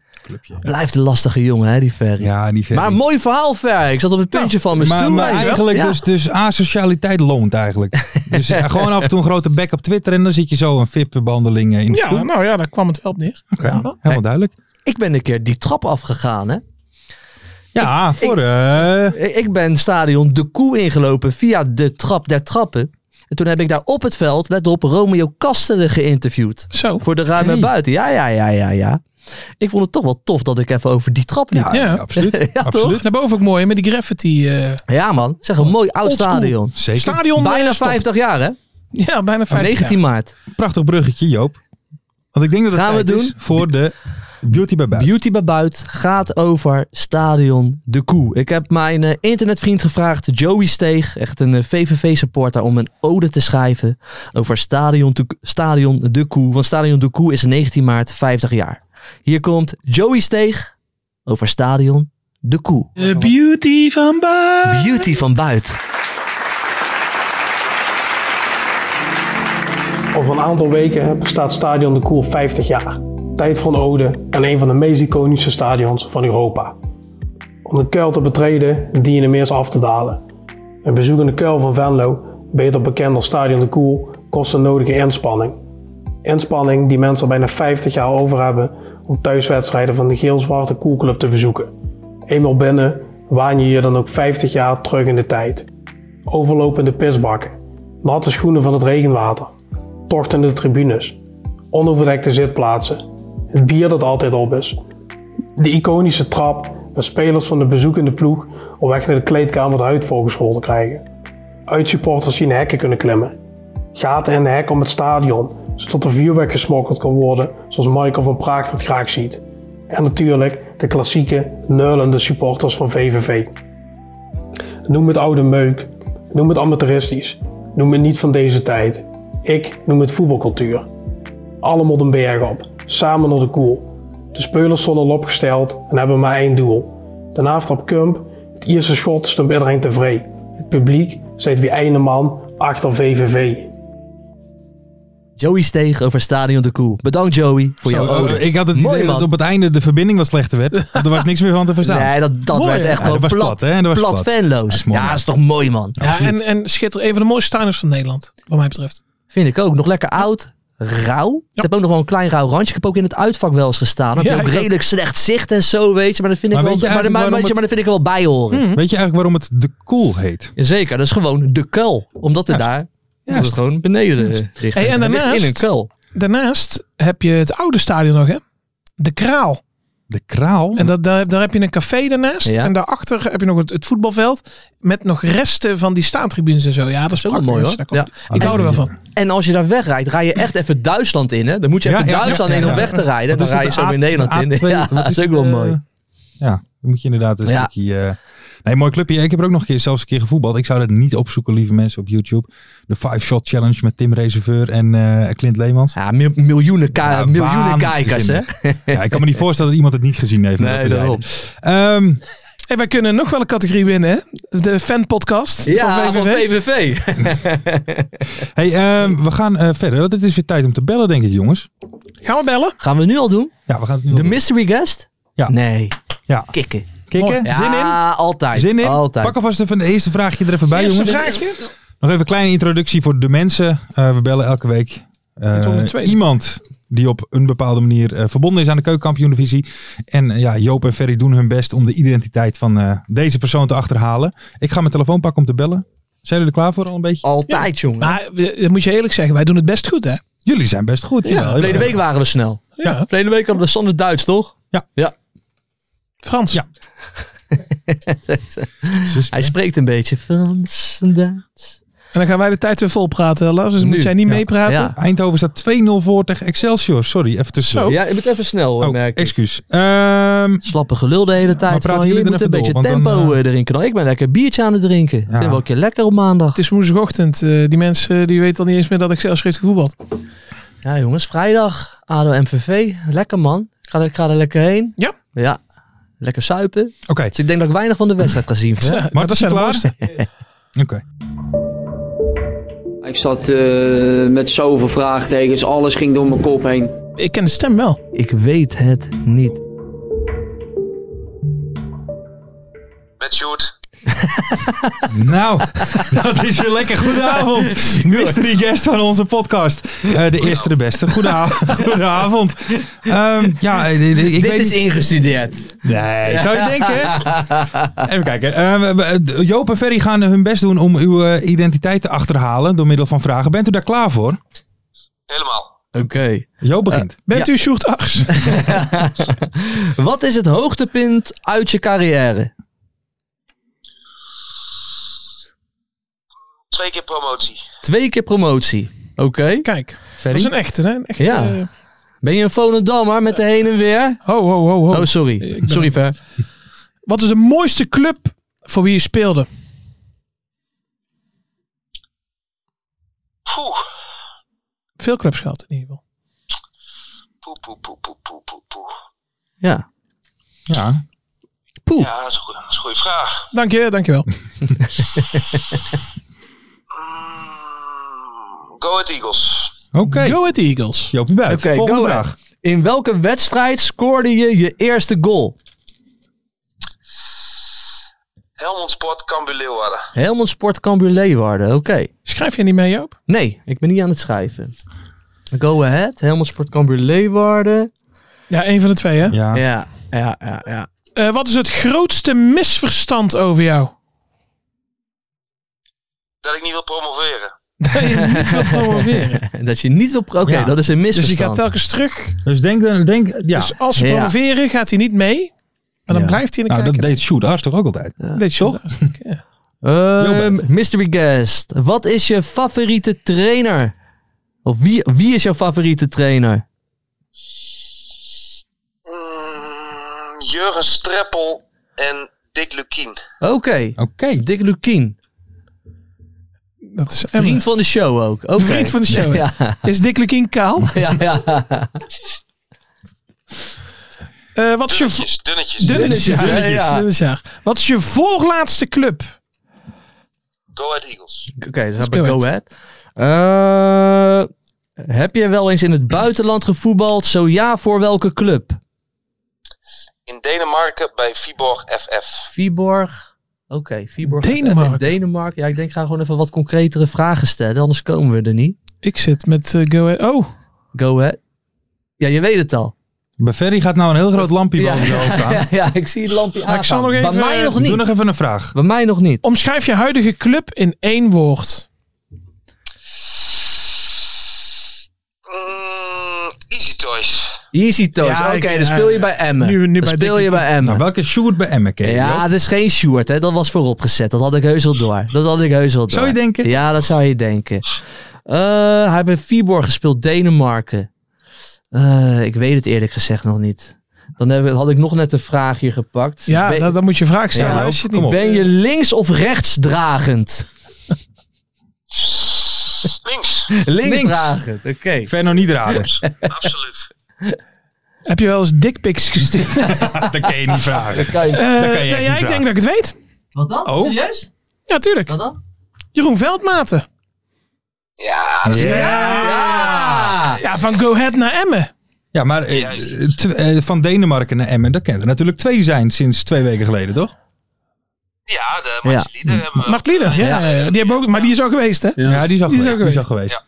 F: Blijft een lastige jongen, hè, die Ferry.
D: Ja, niet verder.
F: Maar mooi verhaal, Ferry. Ik zat op het puntje van mijn
D: maar,
F: stoel.
D: maar
F: weet je wel.
D: eigenlijk
F: Ja.
D: dus, dus asocialiteit loont eigenlijk.
F: [LAUGHS]
D: dus ja, gewoon af en toe een grote bek op Twitter en dan zit je zo een VIP-behandeling eh, in de
E: Ja,
D: stoel.
E: nou ja, daar kwam het wel op neer.
D: Oké, helemaal duidelijk.
F: Ik ben een keer die trap afgegaan, hè.
D: Ja, voor... eh,
F: Ik ik ben stadion De Koe ingelopen via de trap der trappen. En toen heb ik daar op het veld, let op, Romeo Kastelen geïnterviewd.
E: Zo.
F: Voor de ruim en
D: Hey.
F: buiten. Ja, ja, ja, ja, ja. Ik vond het toch wel tof dat ik even over die trap [LAUGHS] liep.
D: ja,
E: Ja.
D: absoluut.
F: Ja, toch?
D: absoluut.
E: Daarboven ook mooi hè, met die graffiti. eh
F: Ja, man. Zeg, een mooi oud
E: Oldschool.
F: stadion.
D: Zeker.
E: stadion
F: Bijna
E: eh, stop.
F: 50 jaar, hè?
E: Ja,
F: Oh,
E: bijna 50.
F: 19 maart.
D: Prachtig bruggetje, Joop. Want ik denk dat het
F: Gaan we
D: tijd is
F: doen?
D: voor de Beauty bij buiten.
F: Beauty bij Buit gaat over Stadion de Koe. Ik heb mijn eh, internetvriend gevraagd, Joey Steeg, echt een eh, VVV-supporter, om een ode te schrijven over Stadion, te- Stadion de Koe. Want Stadion de Koe is 19 maart 50 jaar. Hier komt Joey Steeg over Stadion de Koe.
E: De beauty van Baar.
F: Beauty van Buit.
G: Over een aantal weken bestaat Stadion de Koel 50 jaar. Tijd voor een ode aan een van de meest iconische stadions van Europa. Om de kuil te betreden dien je de meers af te dalen. Een bezoek aan de kuil van Venlo, beter bekend als Stadion de Koel, kost de nodige inspanning. Inspanning die mensen al bijna 50 jaar over hebben om thuiswedstrijden van de geel-zwarte koelclub te bezoeken. Eenmaal binnen waan je je dan ook 50 jaar terug in de tijd. Overlopende pisbakken, natte schoenen van het regenwater, tochtende tribunes, onoverdekte zitplaatsen, het bier dat altijd op is, de iconische trap waar spelers van de bezoekende ploeg op weg naar de kleedkamer de huid volgeschoten krijgen, uitsupporters die in hekken kunnen klimmen, gaten in de hek om het stadion zodat er vuurwerk gesmokkeld kan worden zoals Michael van Praag dat graag ziet, en natuurlijk de klassieke neulende supporters van VVV. Noem het oude meuk, noem het amateuristisch, noem het niet van deze tijd. Ik noem het voetbalcultuur. Allemaal de berg op, samen naar de koel. De spelers stonden al opgesteld en hebben maar één doel. Daarna trap Kump, het Ierse schot stond iedereen tevreden. Het publiek zit weer ene man achter VVV.
F: Joey Steeg over Stadion de Koe. Bedankt Joey voor jouw
D: Zo,
F: ode.
D: eh, ik had het
F: Oh, Mooi,
D: idee
F: man.
D: dat op het einde de verbinding wat slechter werd. Want er was niks meer van te verstaan.
F: Nee, dat, dat
E: Mooi,
F: werd
E: hè?
F: echt
D: Ja,
F: gewoon
D: dat was
F: plat,
D: plat, hè? Dat was
F: plat
D: plat.
F: fanloos.
D: Dat is mooi.
F: ja, dat is toch mooi man.
E: Ja, en, en schitter, een van de mooiste tuiners van Nederland, wat mij betreft.
F: Vind ik ook. Nog lekker oud. Rauw. Ik heb ook nog wel een klein rauw randje. Ik heb ook in het uitvak wel eens gestaan. Dan heb
E: Ja,
F: je ook
E: ik ook.
F: redelijk slecht zicht en zo, weet je. Maar dat vind ik,
D: Maar
F: wel,
D: weet je
F: maar,
D: eigenlijk
F: maar, maar,
D: waarom
F: weet je, maar dat vind ik er wel bij horen.
D: Weet je eigenlijk waarom het de cool heet?
F: Zeker, dat is gewoon de kuil. Omdat het daar dat is
D: Juist.
F: gewoon beneden eh, ligt.
E: Hey, en
F: Het ligt
E: daarnaast-
F: In een kuil.
E: Daarnaast heb je het oude stadion nog, hè? De Kraal.
D: De kraal?
E: En dat, daar, daar heb je een café daarnaast.
F: Hm. Ja.
E: En daarachter heb je nog het, het voetbalveld. Met nog resten van die staantribunes en zo. Ja, dat is
F: Dat is
E: prachtig.
F: wel mooi
E: als je
F: hoor.
E: daar
F: Ja.
E: komt. Ik hou er wel van.
F: En als je daar wegrijdt, rij je echt even Duitsland in. Hè? Dan moet je
D: Ja,
F: even
D: ja, ja,
F: Duitsland
D: ja,
F: in om
D: ja.
F: weg te rijden.
D: Wat
F: Dan
D: is
F: rij je
D: het,
F: zo
D: de
F: weer
D: A-
F: Nederland in.
D: A2?
F: [LAUGHS] Ja,
D: Wat
F: dat is ook wel
D: het,
F: mooi.
D: eh, Ja, dan moet je inderdaad eens
F: Ja.
D: een stukje... eh, nee, mooi clubje. Ik heb er ook nog een keer, zelfs een keer gevoetbald. Ik zou dat niet opzoeken, lieve mensen, op YouTube. De Five Shot Challenge met Tim Reserveur en eh, Clint Leemans.
F: Ja, mil- miljoenen, ka-
D: Ja,
F: miljoenen
D: waanzinnig.
F: kijkers,
D: [LAUGHS]
F: hè?
D: Ja, ik kan me niet voorstellen dat iemand het niet gezien heeft. maar
F: Nee,
D: dat is
F: daarom.
D: hij. Ehm,
E: En wij kunnen nog wel een categorie winnen, hè? De fanpodcast
F: Ja,
E: van
F: van
E: VVV.
F: VVV.
D: hey, ehm, we gaan eh, verder. Want het is weer tijd om te bellen, denk ik, jongens.
E: Gaan we bellen?
F: Gaan we nu al doen?
D: Ja, we gaan het nu
F: De
D: al-
F: mystery guest?
D: Ja.
F: Nee.
D: Ja.
F: Kikken.
D: kicken.
F: Ja,
D: Zin in?
F: altijd.
D: Zin in?
F: Altijd.
D: Pak alvast even de eerste vraagje er even bij,
E: Eerste
D: jongens.
E: vraagje.
D: Nog even een kleine introductie voor de mensen. Eh, we bellen elke week eh,
E: Dit wordt de tweede.
D: iemand die op een bepaalde manier eh, verbonden is aan de keukenkampioen-divisie. En eh, ja, Joop en Ferry doen hun best om de identiteit van eh, deze persoon te achterhalen. Ik ga mijn telefoon pakken om te bellen. Zijn jullie er klaar voor al een beetje?
F: Altijd, jongen.
D: Ah,
E: Maar eh, dat moet je eerlijk zeggen, wij doen het best goed, hè?
D: Jullie zijn best goed. jawel.
F: Verleden week waren we snel.
E: Ja.
F: Verleden week hadden we standaard Duits, toch? [LAUGHS]
D: Ja.
F: ja.
E: Frans.
D: Ja.
F: Hij spreekt een beetje Frans en Duits.
E: En dan gaan wij de tijd weer vol praten, Lars. Dus
F: Nu.
E: moet jij niet
D: Ja.
E: meepraten.
F: Ja.
D: Eindhoven staat 2-0 voor tegen Excelsior. Sorry, even tussen.
F: Ja, je moet even snel, hoor,
D: Oh,
F: merk ik.
D: excuus. Ehm,
F: Slappe gelul de hele tijd.
D: praten
F: Van,
D: jullie
F: je
D: er
F: moet een
D: even
F: beetje
D: door, want
F: tempo
D: dan, eh,
F: eh, erin knallen. Ik ben lekker een biertje aan het drinken. Ik Vind wel een keer lekker op maandag.
E: Het is woensdagochtend. eh, die mensen eh, die weten al niet eens meer dat ik zelfs heeft gevoetbald.
F: Ja, jongens. Vrijdag. ADO MVV. Lekker, man. Ik ga, er- ik ga er lekker heen.
E: Ja.
F: Ja. Lekker suipen.
D: Oké,
F: Dus ik denk dat ik weinig van de wedstrijd ga zien. hè?
D: maar dat is
E: zijn de
D: klaar.
E: mooiste.
D: Oké.
H: Ik zat eh, met zoveel vraagtekens, alles ging door mijn kop heen.
E: Ik ken de stem wel.
F: Ik weet het niet. [LAUGHS]
D: Nou, dat is weer lekker. Goedenavond, mystery guest van onze podcast. Eh, de eerste, de beste.
F: [LAUGHS]
D: Goedenavond. Goedenavond. Ehm, ja, eh, eh, ik
F: Dit
D: weet
F: is
D: niet-
F: ingestudeerd.
D: Nee, zou je
F: [LAUGHS]
D: denken? Even kijken. Ehm, we- we- Joop en Ferry gaan hun best doen om uw eh, identiteit te achterhalen door middel van vragen. Bent u daar klaar voor?
F: Oké.
D: Joop begint.
F: Eh,
E: Bent u Sjoerd Ars?
F: [LAUGHS] Wat is het hoogtepunt uit je carrière?
I: Twee keer promotie.
F: Twee keer promotie. Oké.
E: Kijk, dat
D: Ferry?
E: is een echte, hè? Een echte
F: Ja.
E: eh,
F: Ben je een Volendammer met de heen en weer?
E: Ho, ho, ho, ho.
F: Oh, sorry. Sorry, Ver.
E: Wat is de mooiste club voor wie je speelde?
C: Poeh,
E: Veel clubs gehad in ieder geval.
C: poeh, poeh, poeh, poeh, poeh, poeh, poeh.
F: Ja.
D: Ja.
E: Poeh.
C: Ja, dat is een goeie- dat is een goede vraag.
E: Dank je, dank je wel.
C: Mm, Go Ahead Eagles.
D: Oké.
E: Go Ahead Eagles.
D: Joopie buiten.
F: Oké,
D: Volgende
F: go
D: vraag.
F: In welke wedstrijd scoorde je je eerste goal?
C: Helmond Sport, Cambuur Leeuwarden.
F: Helmond Sport Cambuur Leeuwarden. Oké.
E: Schrijf je niet mee, Joop?
F: Nee, ik ben niet aan het schrijven. Go ahead. Helmond Sport Cambuur Leeuwarden.
E: Ja, één van de twee, hè?
D: Ja.
F: Ja, ja, [LAUGHS] ja, ja.
E: Eh, wat is het grootste misverstand over jou? [LAUGHS]
C: Dat ik niet wil promoveren.
E: Dat je niet wil
F: [LAUGHS]
E: promoveren.
F: Dat je niet wil... pro- Oké,
D: Ja.
F: dat is een
E: Dus je
F: misverstand.
E: gaat telkens terug.
D: Dus denk, dan- denk ja.
E: Dus als ze
F: Ja.
E: promoveren, gaat hij niet mee. Maar dan
D: Ja.
E: blijft hij in de
D: nou, dat
E: kijker.
D: deed Sjoerd Haas toch ook altijd?
E: deed je
D: toch?
E: toch?
F: Ehm, mystery guest. Wat is je favoriete trainer? Of wie, wie is jouw favoriete trainer?
C: Mm, Jurgen Streppel en Dick Lukien.
F: Oké,
D: Oké.
F: Dick Lukien.
E: Dat is
F: Vriend van de show ook. Oké.
E: Vriend van de
F: [LAUGHS]
E: show.
F: Ja,
E: Is Dick Lukien kaal?
F: ja, ja.
E: Eh, wat is je... vo-
C: Dunnetjes, dunnetjes.
E: Dunnetjes.
F: Ja, ja, ja.
E: dunnetjes, dunnetjes. Wat is je voorlaatste club?
C: Go Ahead Eagles.
F: Oké, dus dan heb ik
E: Go
F: go ahead. Eh, heb je wel eens in het buitenland gevoetbald? Zo ja, voor welke club?
C: In Denemarken bij Viborg FF.
F: Viborg. Oké, Viborg.
E: Denemarken.
F: In Denemarken. Ja, ik denk ik ga gewoon even wat concretere vragen stellen. Anders komen we er niet.
E: Ik zit met eh, Go Ahead. Oh,
F: Go ahead. Ja, je weet het al.
D: Bij Ferry gaat nou een heel groot lampje
F: Ja.
D: boven je hoofd aan.
F: [LAUGHS] Ja, ja, ik zie het lampje aan.
E: Maar ik zal nog even-
F: Bij mij nog
D: Doe
F: niet.
D: nog even een vraag.
F: Bij mij nog niet.
E: omschrijf je huidige club in één woord.
C: Mm, Easy Toys.
F: Easy Toys.
E: Ja,
F: Oké,
E: ik-
F: dan
E: ja,
F: speel je
E: ja.
F: bij Emmen.
E: Nu-
F: dan
E: nu bij
F: speel
E: Dickie
F: je bij Emmen.
D: Nou, welke Sjoerd bij Emmen ken je?
F: ja,
D: Joop?
F: dat is geen Sjoerd, hè. Dat was vooropgezet. Dat had ik heus wel door. Dat had ik heus wel door.
D: Zou je denken?
F: Ja, dat zou je denken. Eh, hij heeft bij Viborg gespeeld, Denemarken. Eh, ik weet het eerlijk gezegd nog niet. Dan heb, ik- had ik nog net een vraag hier gepakt.
E: Ja,
F: ben,
E: dat, dat moet je vraag stellen.
D: Ja, nou.
E: als je het
D: kom
E: niet
D: op.
F: ben je links of rechts dragend?
C: Links.
F: [LAUGHS] Links dragend, oké.
D: Verno niet dus. raden.
C: Absoluut.
E: Heb je wel eens dickpics
D: [LAUGHS]
E: gestuurd?
D: dat kan je niet vragen.
F: Kan je-
E: Eh,
D: je echt
E: nou
D: niet
E: ja, ik
D: vragen.
E: denk dat ik het weet.
F: Wat dan?
D: Oh.
F: Serieus?
E: Ja, tuurlijk.
F: Wat dan?
E: Jeroen Veldmaten.
C: Ja, dat is
F: Ja!
E: Ja, van Go Ahead naar Emmen.
D: Ja, maar eh, tw- eh, van Denemarken naar Emmen, dat kent er natuurlijk twee zijn sinds twee weken geleden, toch?
C: Ja, de Martje Lieder hebben we.
E: Mart Lieder. Ja,
F: Ja.
E: ja, ja. Die hebben we ook, maar die is al geweest, hè?
D: Ja, die is al
E: Die is
D: geweest.
E: al
D: Die is al geweest.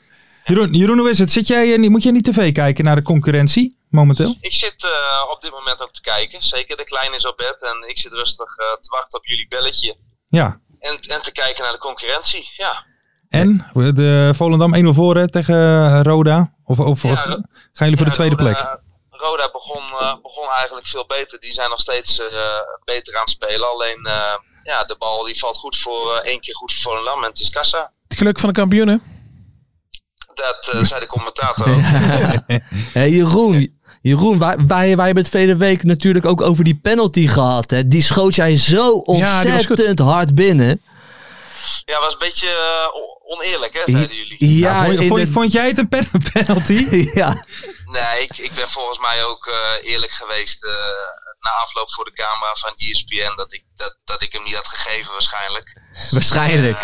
D: Jeroen, Jeroen, hoe is het? Zit jij, eh, niet- moet jij niet tv kijken naar de concurrentie momenteel?
C: Ik zit eh, op dit moment ook te kijken. Zeker, de kleine is op bed en ik zit rustig eh, te wachten op jullie belletje.
D: Ja.
C: En, en te kijken naar de concurrentie. Ja,
D: En We- de Volendam 1-0 voor hè, tegen eh, Roda? Of, of,
C: Ja,
D: of-
C: Ro-
D: gaan jullie voor de tweede
C: Roda,
D: plek?
C: Roda begon, eh, begon eigenlijk veel beter. Die zijn nog steeds eh, beter aan het spelen.
F: [LAUGHS]
C: Alleen eh, ja, de bal die valt goed voor eh, één keer goed voor Volendam en het is kassa.
E: Het geluk van de kampioenen.
C: Dat eh, zei de commentator. ook.
F: Hey, Jeroen, Jeroen wij, wij, wij hebben het vele week natuurlijk ook over die penalty gehad. Hè? Die schoot jij zo
E: Ja, die was goed.
F: ontzettend hard binnen.
C: Ja, was een beetje eh, on- oneerlijk, hè, zeiden jullie.
F: Ja,
D: Nou, vond, je-
F: in
D: vond je-
F: de-
D: vond jij het een pen- [LAUGHS] penalty?
F: [LAUGHS] ja.
C: Nee, ik, ik ben volgens mij ook eh, eerlijk geweest eh, na afloop voor de camera van E ESPN dat ik, dat, dat ik hem niet had gegeven waarschijnlijk.
F: waarschijnlijk.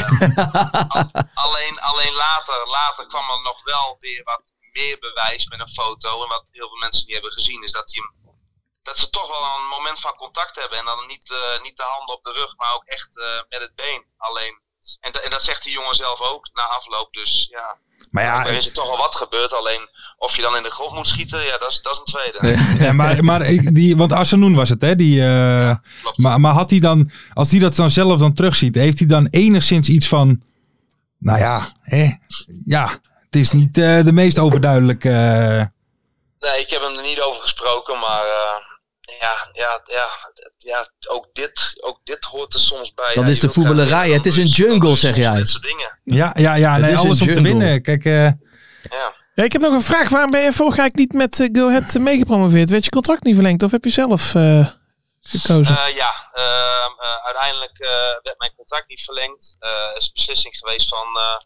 C: Alleen, alleen later, later kwam er nog wel weer wat meer bewijs met een foto. En wat heel veel mensen niet hebben gezien is dat, hij hem, dat ze toch wel een moment van contact hebben. En dan niet, eh, niet de handen op de rug, maar ook echt eh, met het been alleen. En, da- en dat zegt die jongen zelf ook na afloop. Dus ja,
D: Maar ja,
C: er is er toch wel wat gebeurd. Alleen of je dan in de grond moet schieten, ja, dat is, dat is een tweede.
D: Ja, maar, maar ik- die, want Arsenoen was het, hè? Die, eh,
C: klopt.
D: maar, maar had hij dan, als hij dat dan zelf dan terugziet, heeft hij dan enigszins iets van, nou ja, hè, ja, het is niet eh, de meest overduidelijke. eh,
C: Nee, ik heb hem er niet over gesproken, maar eh, ja, ja, ja, d- ja, ook dit, ook dit hoort er soms bij.
F: Dat
C: Ja, je
F: is de
C: wilt graag
F: voetballerij,
C: winnen,
F: het is
C: dan
F: een
C: doe je- dan
F: jungle,
C: doe je
F: zeg
C: soms
F: jij.
C: Dit soort dingen,
D: ja, ja, ja,
F: Het
D: nee,
F: is een
D: alles om te
F: jungle.
D: winnen. Kijk, eh,
C: ja.
E: Ja, Ja, ik heb nog een vraag. Waarom ben je vorig jaar niet met eh, Go Ahead eh, meegepromoveerd? Werd je contract niet verlengd of heb je zelf eh, gekozen?
C: Eh, ja, ehm, eh, uiteindelijk eh, werd mijn contract niet verlengd. Eh is een beslissing geweest van, eh,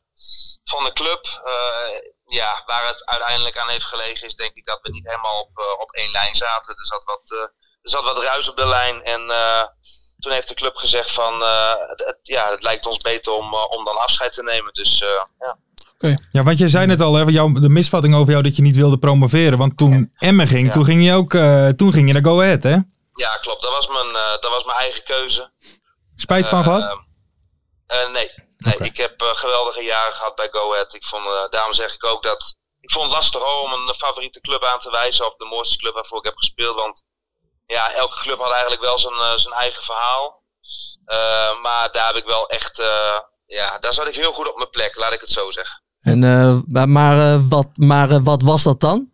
C: van de club. Eh, ja, waar het uiteindelijk aan heeft gelegen is denk ik dat we niet helemaal op, eh, op één lijn zaten. Er zat wat, eh, er zat wat ruis op de lijn. En eh, toen heeft de club gezegd van eh, het, het- ja, het lijkt ons beter om, eh, om dan afscheid te nemen. Dus eh, ja.
D: Ja, want jij zei net al, hè, jou, de misvatting over jou dat je niet wilde promoveren. Want toen Emmen ging,
C: Ja.
D: toen ging je ook eh, toen ging je naar Go Ahead, hè?
C: ja, klopt. Dat was mijn, eh, dat was mijn eigen keuze.
D: Spijt van
C: Eh,
D: gehad?
C: eh, nee, nee ik heb eh, geweldige jaren gehad bij Go Ahead. Ik vond, eh, daarom zeg ik ook dat... Ik vond het lastig hoor, om een favoriete club aan te wijzen... of de mooiste club waarvoor ik heb gespeeld. Want ja, elke club had eigenlijk wel zijn, eh, zijn eigen verhaal. Eh, maar daar heb ik wel echt... eh, ja, daar zat ik heel goed op mijn plek, laat ik het zo zeggen.
F: En, eh, maar maar, eh, wat, maar eh, wat was dat dan?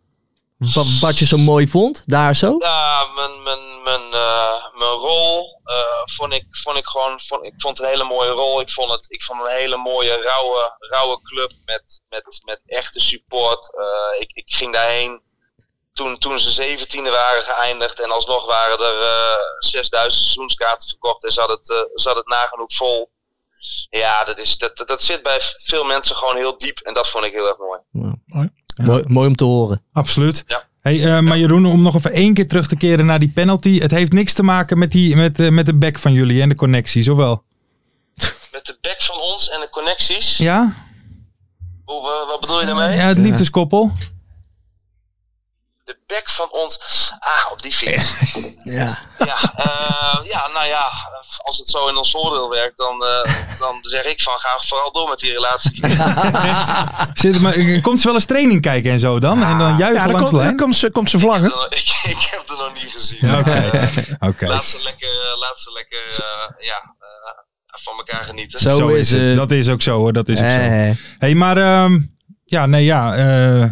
F: Wat, wat je zo mooi vond, daar zo?
C: Ja, mijn, mijn, mijn, eh, mijn rol eh, vond, ik, vond ik gewoon. Vond, ik vond het een hele mooie rol. Ik vond het, ik vond een hele mooie rauwe, rauwe club met, met, met echte support. Eh, ik, ik ging daarheen toen, toen ze zeventiende waren geëindigd. En alsnog waren er eh 6000 seizoenskaarten verkocht. En zat het, eh, zat het nagenoeg vol. Ja, dat, is, dat, dat, dat zit bij veel mensen gewoon heel diep. En dat vond ik heel erg mooi.
F: Mooi, mooi om te horen.
D: Absoluut.
C: Ja.
D: Hey, eh, maar Jeroen, om nog even één keer terug te keren naar die penalty. Het heeft niks te maken met, die, met, eh, met de back van jullie en de connecties, of wel?
C: Met de bek van ons en de connecties.
D: Ja?
C: Hoe, eh, wat bedoel je
D: Ja,
C: daarmee?
D: het liefdeskoppel.
C: De bek van ons. Ah, op die fiets.
F: Ja.
C: Ja, eh, ja nou ja, als het zo in ons voordeel werkt, dan, eh, dan zeg ik van ga vooral door met die relatie. [LAUGHS]
D: Zit, maar, eh, komt ze wel eens training kijken en zo dan? En dan juichen
E: Ja, dan
D: langs
E: komt,
D: de
E: dan
D: lijn?
E: komt ze, komt ze vlaggen.
C: ik, ik heb het nog niet gezien.
D: Ja, Oké.
C: Eh,
D: Oké.
C: Laat ze lekker, eh, laat ze lekker eh, ja, eh, van elkaar genieten.
F: Zo, is het.
D: Dat is ook zo hoor, dat is ook zo.
F: Eh,
D: hey, maar ehm, ja, nee, ja. eh,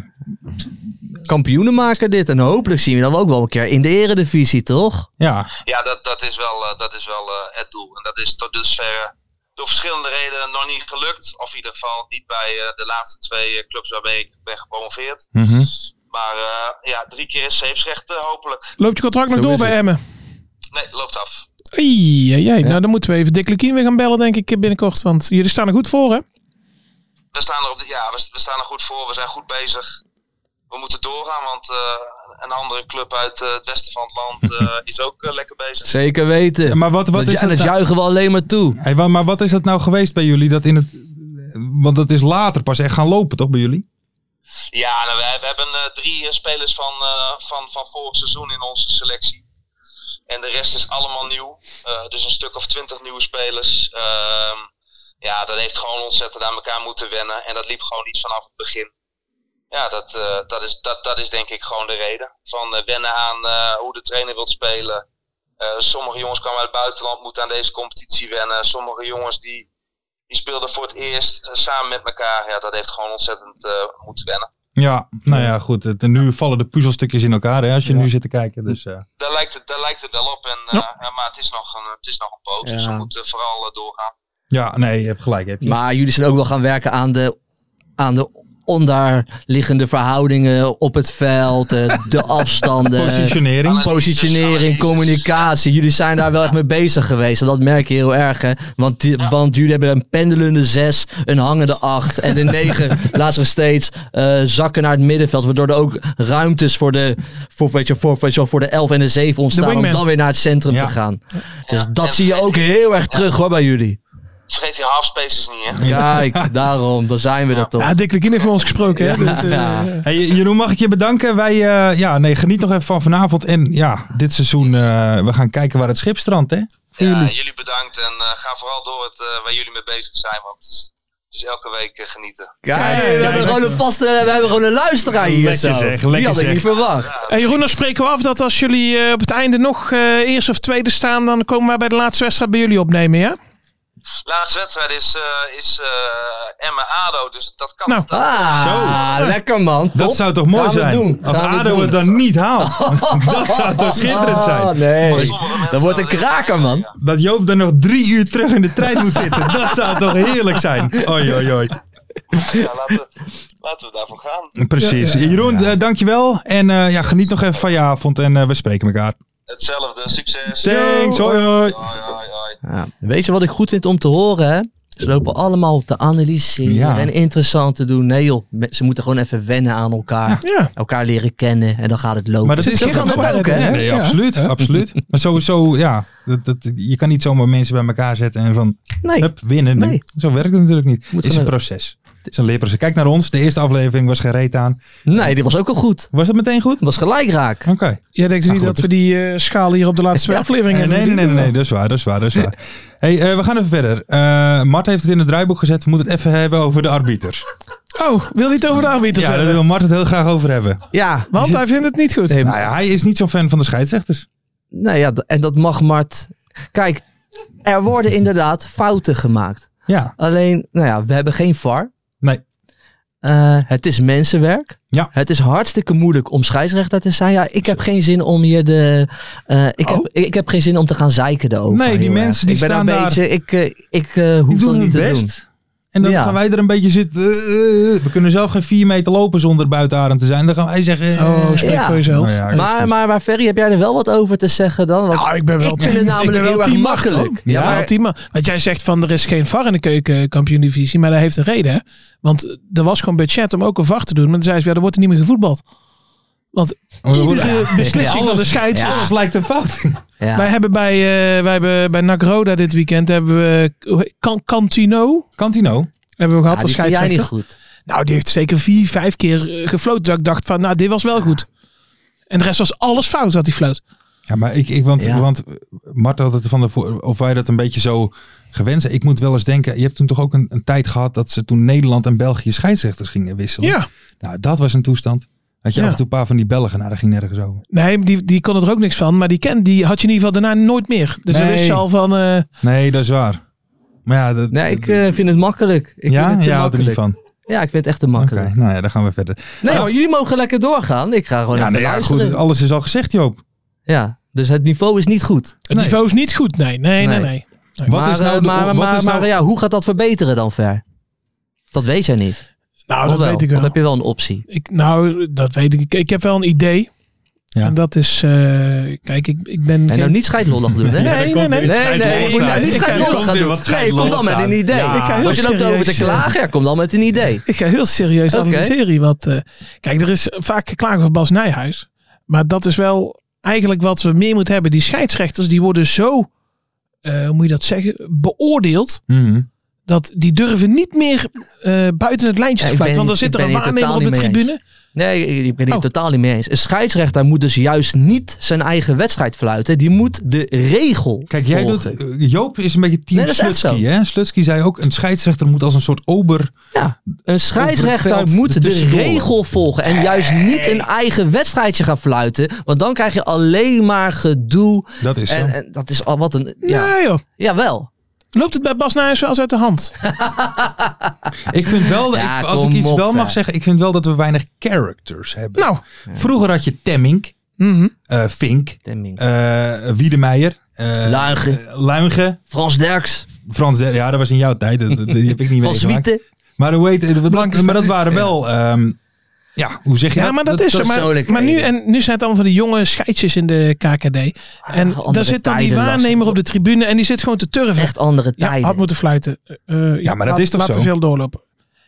F: kampioenen maken dit. En hopelijk zien we dat ook wel een keer in de eredivisie, toch?
D: ja.
C: Ja, dat, dat is wel, eh, dat is wel eh, het doel. En dat is tot dusver eh, door verschillende redenen nog niet gelukt. Of in ieder geval niet bij eh, de laatste twee eh, clubs waarbij ik ben gepromoveerd.
D: Mhm.
C: Maar eh, ja, drie keer is zeepsrecht eh, hopelijk.
E: Loopt je contract nog
F: Zo
E: door
F: is
E: bij
F: het.
E: Emmen?
C: Nee, loopt af.
E: Oei, oei, oei. Nou, dan moeten we even Dick Lukien weer gaan bellen, denk ik, eh, binnenkort. Want jullie staan er goed voor, hè?
C: We staan er, op de, ja, we, we staan er goed voor, we zijn goed bezig. We moeten doorgaan, want eh, een andere club uit eh, het westen van het [LAUGHS] land eh, is ook eh, lekker bezig.
F: Zeker weten.
D: Maar wat, wat
F: dat,
D: is
F: ju- dat
D: nou-
F: juichen we alleen maar toe.
D: Hey, wa- maar wat is dat nou geweest bij jullie? Dat in het, want dat is later pas echt gaan lopen, toch, bij jullie?
C: Ja, nou, we, we hebben eh, drie eh, spelers van, eh, van, van vorig seizoen in onze selectie. En de rest is allemaal nieuw. Eh, dus een stuk of twintig nieuwe spelers. Ehm, ja, dat heeft gewoon ontzettend aan elkaar moeten wennen. En dat liep gewoon niet vanaf het begin. Ja, dat, eh, dat, is, dat, dat is denk ik gewoon de reden. Van eh, wennen aan eh, hoe de trainer wilt spelen. Eh, sommige jongens kwamen uit het buitenland, moeten aan deze competitie wennen. Sommige jongens die, die speelden voor het eerst eh, samen met elkaar. Ja, dat heeft gewoon ontzettend eh, moeten wennen.
D: Ja, nou ja, goed. Het, nu vallen de puzzelstukjes in elkaar, hè, als je nu zit te kijken. Dus, eh,
C: daar lijkt het, daar lijkt het wel op. En, eh, ja, maar het is nog een, het is nog een poot. Dus we moeten vooral eh, doorgaan.
D: ja, nee, je hebt gelijk. Heb je.
F: Maar jullie zijn ook wel gaan werken aan de, aan de onderliggende verhoudingen op het veld. eh, de afstanden.
D: Positionering.
F: Positionering, communicatie. Jullie zijn daar wel echt mee bezig geweest. En dat merk je heel erg. Hè? Want, die- want jullie hebben een pendelende 6, een hangende 8 en een
C: [LAUGHS]
F: 9. laat zich steeds eh, zakken naar het middenveld. Waardoor er ook ruimtes voor de, voor, weet je, voor, weet je wel, voor de 11 en de 7 ontstaan. om
E: wingman.
F: dan weer naar het centrum
D: Ja.
F: te gaan. Dus
C: Ja.
F: dat
C: En
F: zie je ook heel erg terug hoor bij jullie.
C: Vergeet die halfspaces niet, hè? [LAUGHS]
F: Kijk, daarom. Dan zijn we dat toch.
E: Ja, Dick Lukien heeft met ons gesproken, hè? Dus, eh,
F: Ja.
D: Hey, Jeroen, mag ik je bedanken? Wij, eh, ja, nee, geniet nog even van vanavond. En ja, dit seizoen, eh, we gaan kijken waar het schip strandt, hè? Voor
C: Ja,
D: jullie.
C: jullie bedankt. En eh, ga vooral door het, eh, waar jullie mee bezig zijn. Want het is, het is elke week eh, genieten.
F: Kijk,
D: Kijk,
F: we hebben gewoon een vaste, we hebben gewoon een luisteraar hier
D: Lekker
F: zo.
D: zeg,
F: Die
D: lekker
F: had ik
D: zeg.
F: niet verwacht.
E: Hey eh, Jeroen, dan spreken we af dat als jullie eh, op het einde nog eh eerste of tweede staan, dan komen wij bij de laatste wedstrijd bij jullie opnemen, ja?
C: Laatste wedstrijd is, eh is eh Emma Ado. Dus dat kan.
E: Nou.
C: dat-
F: Ah, lekker man.
D: Dat
F: Top.
D: zou toch mooi
F: Gaan we
D: zijn?
F: doen.
D: Als
F: Gaan we
D: ADO
F: doen.
D: het dan niet
F: [LAUGHS]
D: haalt. dat zou toch schitterend zijn?
F: Ah, nee.
C: sommige mensen
F: Dat wordt een
C: hadden-
F: kraker, man.
D: Dat Joop er nog drie uur terug in de trein moet zitten. Dat zou toch heerlijk zijn? Oi, oi, oi.
C: Ja, laten, Laten we daarvoor gaan.
D: Precies. Jeroen, eh, dankjewel. En eh, ja, geniet nog even van je avond en eh, we spreken elkaar.
C: Hetzelfde, succes.
D: Thanks, hoi hoi.
F: Ja, weet je wat ik goed vind om te horen, hè? Ze lopen allemaal te analyseren
D: Ja.
F: en interessant te doen. Nee joh, me- ze moeten gewoon even wennen aan elkaar.
D: Ja.
F: Elkaar leren kennen en dan gaat het lopen.
D: Maar dat is
F: Zo kan dat ook, hè?
D: Nee, nee, absoluut, absoluut. Maar sowieso, ja, dat, dat, je kan niet zomaar mensen bij elkaar zetten en van,
F: Nee.
D: hup, winnen. nu.
F: Nee.
D: Zo werkt het natuurlijk niet.
F: Moet
D: het is een
F: gewoon-
D: proces. Het is een leerproces. Kijk naar ons, de eerste aflevering was geen reet aan.
F: Nee, dit was ook al goed.
D: Was dat meteen goed?
F: Het was gelijk raak.
D: Oké.
E: Jij denkt
D: Nou,
E: niet
D: goed.
E: dat we die eh, schaal hier op de laatste twee
F: Ja.
E: afleveringen
D: Nee, nee, nee, nee, nee, dat is waar, dat is waar, dat is waar. hey, eh, we gaan even verder. Eh, Mart heeft het in het draaiboek gezet, we moeten het even hebben over de arbiters.
E: Oh, wil je het over de aanbieders
D: Ja, daar
E: hebben?
D: wil Mart het heel graag over hebben.
F: Ja,
E: Want hij vindt het niet goed.
F: Nee,
D: Nou ja, hij is niet zo'n fan van de scheidsrechters.
F: Nou ja, d- en dat mag Mart. Kijk, er worden inderdaad fouten gemaakt.
D: Ja,
F: Alleen, nou ja, we hebben geen VAR.
D: nee.
F: Eh, het is mensenwerk.
D: Ja.
F: Het is hartstikke moeilijk om scheidsrechter te zijn. Ja, ik heb geen zin om hier de. eh, ik, heb, ik heb geen zin om te gaan zeiken erover.
D: Oh. Nee, die
F: heel erg.
D: mensen die
F: ik ben
D: staan
F: een
D: daar-
F: beetje. Ik, eh, ik eh, hoef
D: Die
F: dat
D: doen hun
F: niet te
D: best.
F: doen.
D: En dan
F: Ja.
D: gaan wij er een beetje zitten. eh, eh, eh. we kunnen zelf geen vier meter lopen zonder buitenadem te zijn. Dan gaan wij zeggen. eh,
E: Oh, spreek
F: Ja.
E: voor jezelf.
D: nou ja,
F: Maar, maar, maar Ferry, heb jij er wel wat over te zeggen dan? Want
E: Nou, ik ben wel
F: ik vind het namelijk
E: ik ben wel
F: heel erg
E: team Mart,
F: makkelijk.
E: hoor.
F: Ja,
E: Ja,
F: maar-
E: wel team Mart. Want jij zegt van er is geen VAR in de keukenkampioen-divisie. Maar dat heeft een reden. Hè? Want er was gewoon budget om ook een VAR te doen. Maar dan zei ze, ja, er wordt er niet meer gevoetbald. Want
F: Oh,
D: we worden-
E: iedere beslissing van de scheids...
F: Ja.
D: Alles lijkt een fout.
F: ja.
E: Wij hebben bij, eh wij hebben bij NAC Roda dit weekend hebben we hoe- Can- Cantino
D: Cantino.
E: hebben we
F: Ja,
E: gehad
F: die vind
E: als
F: jij niet
E: scheidsrechter.
F: goed.
E: Nou, die heeft zeker vier, vijf keer eh, gefloten. Dat ik dacht van, nou, dit was wel goed. En de rest was alles fout wat hij floot.
D: Ja, maar ik, ik want,
F: Ja.
D: want Mart had het van de voor, of wij dat een beetje zo gewenst. zijn. Ik moet wel eens denken. Je hebt toen toch ook een, een tijd gehad dat ze toen Nederland en België scheidsrechters gingen wisselen.
E: Ja.
D: Nou, dat was een toestand. Had je
E: Ja.
D: af en toe een paar van die Belgen, nou, daar ging nergens over.
E: Nee, die, die kon er ook niks van. Maar die ken, die had je in ieder geval daarna nooit meer. Dus dan
D: Nee.
E: wist je al van... eh,
D: Nee, dat is waar. Maar ja, dat,
F: Nee, ik eh, vind het makkelijk. Ik
D: ja,
F: vind het te
D: jij houdt er niet
F: makkelijk.
D: van.
F: Ja, ik vind het echt te
D: Oké,
F: makkelijk.
D: nou ja, dan gaan we verder.
F: Nee,
D: Ah.
F: hoor, jullie mogen lekker doorgaan. Ik ga gewoon
D: Ja,
F: Oh, even
D: nou ja,
F: luisteren.
D: goed, alles is al gezegd, Joop.
F: Ja, dus het niveau is niet goed.
E: het
D: Nee.
E: niveau is niet goed. Nee, nee,
F: Nee.
E: nee. nee.
D: Wat
F: maar,
D: is nou
F: eh,
D: de-
F: maar,
D: wat
F: maar,
D: is
F: maar
D: nou-
F: ja, hoe gaat dat verbeteren dan ver? Dat weet jij niet.
E: Nou,
F: Of
E: dat
F: wel?
E: weet ik
F: Dan
E: wel.
F: heb je wel een optie.
E: Ik, nou, dat weet ik. Ik, ik heb wel een idee.
D: Ja.
E: En dat is... eh, kijk, ik, ik ben
F: En
E: geen-
F: nou niet scheidlollig doen, hè?
E: Nee, nee, nee. nee,
F: Nee, nee, je moet nou niet
E: Ik ga-
F: scheidlollig gaan
D: weer
F: doen.
D: wat
F: Nee, kom dan
D: scheidlollig
F: met
D: aan.
F: een idee.
D: Ja.
E: Ik ga heel
F: Als je loopt over te
E: serieus, eh,
F: klagen, ja, kom dan met een idee.
E: [LAUGHS] Ik ga heel serieus
F: Oké.
E: analyseren. Want, eh, kijk, er is vaak geklaagd over Bas Nijhuis. Maar dat is wel eigenlijk wat we meer moeten hebben. Die scheidsrechters die worden zo, eh, hoe moet je dat zeggen, beoordeeld.
D: Mhm.
E: Dat die durven niet meer eh, buiten het lijntje
F: Ja,
E: te
F: ik ben-
E: fluiten. Want
F: ik
E: dan zit er
F: ben
E: een
F: hier
E: waarnemer
F: totaal
E: op de
F: niet mee
E: tribune.
F: Nee, ik- ik ben het
E: Oh.
F: totaal niet mee eens. Een scheidsrechter moet dus juist niet zijn eigen wedstrijd fluiten. Die moet de regel
D: Kijk, jij doet,
F: volgen.
D: eh, Joop is een beetje team
F: Nee, dat is echt
D: Slutsky.
F: zo.
D: Hè? Slutsky zei ook, een scheidsrechter moet als een soort ober...
F: Ja, een scheidsrechter
D: veld
F: moet de
D: ertussendoor.
F: regel volgen. En juist niet een eigen wedstrijdje gaan fluiten. Want dan krijg je alleen maar gedoe.
D: Dat is zo.
F: En, en dat is al wat een... Ja,
E: Nee joh,
F: jawel.
E: loopt het bij Bas Nijhuis wel eens uit de hand?
D: ik vind wel, dat
F: Ja,
D: ik, als ik
F: kom
D: iets
F: op,
D: wel mag
F: hè.
D: zeggen, ik vind wel dat we weinig characters hebben.
E: nou,
D: Vroeger had je Temmink,
E: mhm.
D: eh, Vink,
F: Temming.
D: eh Wiedemeijer... eh,
F: Luigen.
D: eh, Luigen,
F: Frans Derks,
D: Frans Der, ja dat was in jouw tijd, dat, dat- die heb ik niet
F: Van
D: meegemaakt.
F: Zwieten.
D: Maar, hoe heet, eh, wat,
E: Blankenstein.
D: maar dat waren wel, ehm, ja, hoe zeg je
E: Ja, maar dat, is zo. Maar,
F: persoonlijkheden.
E: maar nu, en, nu zijn het allemaal van die jonge scheidsjes in de KKD. En
F: Ah, andere
E: daar zit dan die
F: tijden, Lars.
E: waarnemer op de tribune en die zit gewoon te turven.
F: Echt andere
E: Ja,
F: tijden.
E: had moeten fluiten. Eh, eh,
D: maar dat
E: laat-
D: is toch
E: laat
D: zo?
E: te veel doorlopen.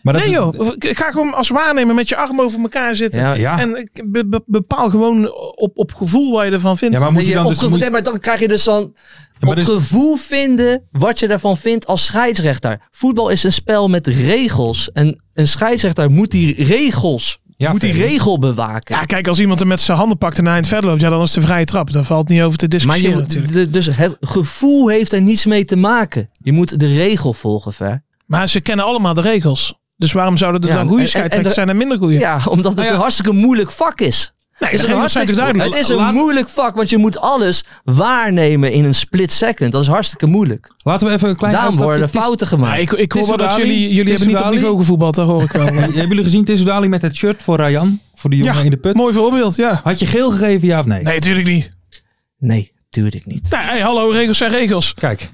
D: Maar dat-
E: nee joh, Ik ga gewoon als waarnemer met je arm over elkaar zitten.
F: Ja.
D: Ja.
E: En ik be- be- bepaal gewoon op, op gevoel wat je ervan vindt.
D: Ja, maar moet je
F: Je
D: dan
F: op
D: dus...
F: gevoel-
D: moet-
F: nee, maar dan krijg je dus dan
D: maar
F: op
D: dus-
F: gevoel vinden wat je daarvan vindt als scheidsrechter. Voetbal is een spel met regels. En een scheidsrechter moet die regels,
D: Ja,
F: moet die
D: Ferry.
F: regel bewaken.
E: Ja, Ah, kijk, als iemand er met zijn handen pakt en hij in het verder loopt, ja, dan is het een vrije trap. Daar valt niet over te
F: Maar
E: discussiëren
F: je, moet-
E: natuurlijk.
F: de- dus het gevoel heeft er niets mee te maken. Je moet de regel volgen, Ver.
E: Maar ze kennen allemaal de regels. Dus waarom zouden er
F: Ja,
E: dan goede
F: en- en- en
E: scheidsrechters
F: er-
E: zijn en minder goede?
F: Ja, omdat het
D: Nou ja.
F: een hartstikke moeilijk vak is. Het
E: nee, de
F: is, een
E: regels zijn toch
F: hartstikke-
E: duidelijk?
F: het is een
D: Laat-
F: moeilijk vak, want je moet alles waarnemen in een split second. Dat is hartstikke moeilijk.
D: Laten we even een klein
F: Daarom
D: uitstapje-
F: worden
D: Het is-
F: fouten
E: Ja,
F: gemaakt.
E: ik, ik hoor wel dat
D: Tissoudali?
E: jullie, jullie hebben niet op
D: Tissoudali?
E: niveau gevoetbald, dat hoor ik
F: [LAUGHS]
E: wel.
D: Eh, Hebben jullie gezien Tissoudali met het shirt voor Rayan? Voor de jongen
E: Ja,
D: in de put?
E: Mooi voorbeeld, ja.
D: Had je geel gegeven, ja of nee?
E: Nee, natuurlijk niet.
F: Nee, tuurlijk niet.
E: Nou, hey, hallo, regels zijn regels.
D: Kijk.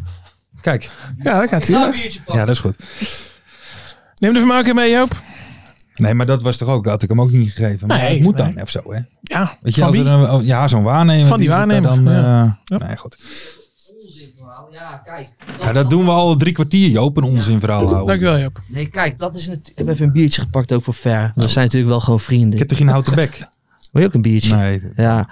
D: Kijk.
E: Ja, dat gaat hier.
D: Ja, dat is goed.
E: Neem de vermaken mee, Joop.
D: Nee, maar dat was toch ook, had ik hem ook niet gegeven. Maar
E: Nee,
D: het moet
E: nee.
D: dan of zo, hè?
E: Ja,
D: Weet je,
E: van
D: als
E: wie?
D: er een- ja, zo'n waarnemer.
E: Van die
D: zit daar
E: waarnemer,
D: Dan,
E: ja.
D: eh,
E: Ja.
D: Nee, goed. Oh, Ja, dat doen we al drie kwartier, Joop, een onzinverhaal houden.
E: Dankjewel Joop.
F: Nee, kijk, dat is natuurlijk... Ik heb even een biertje gepakt ook voor Fer. We zijn natuurlijk wel gewoon vrienden.
D: Ik heb toch geen houten bek?
F: Wil je ook een biertje?
D: Nee.
F: Ja.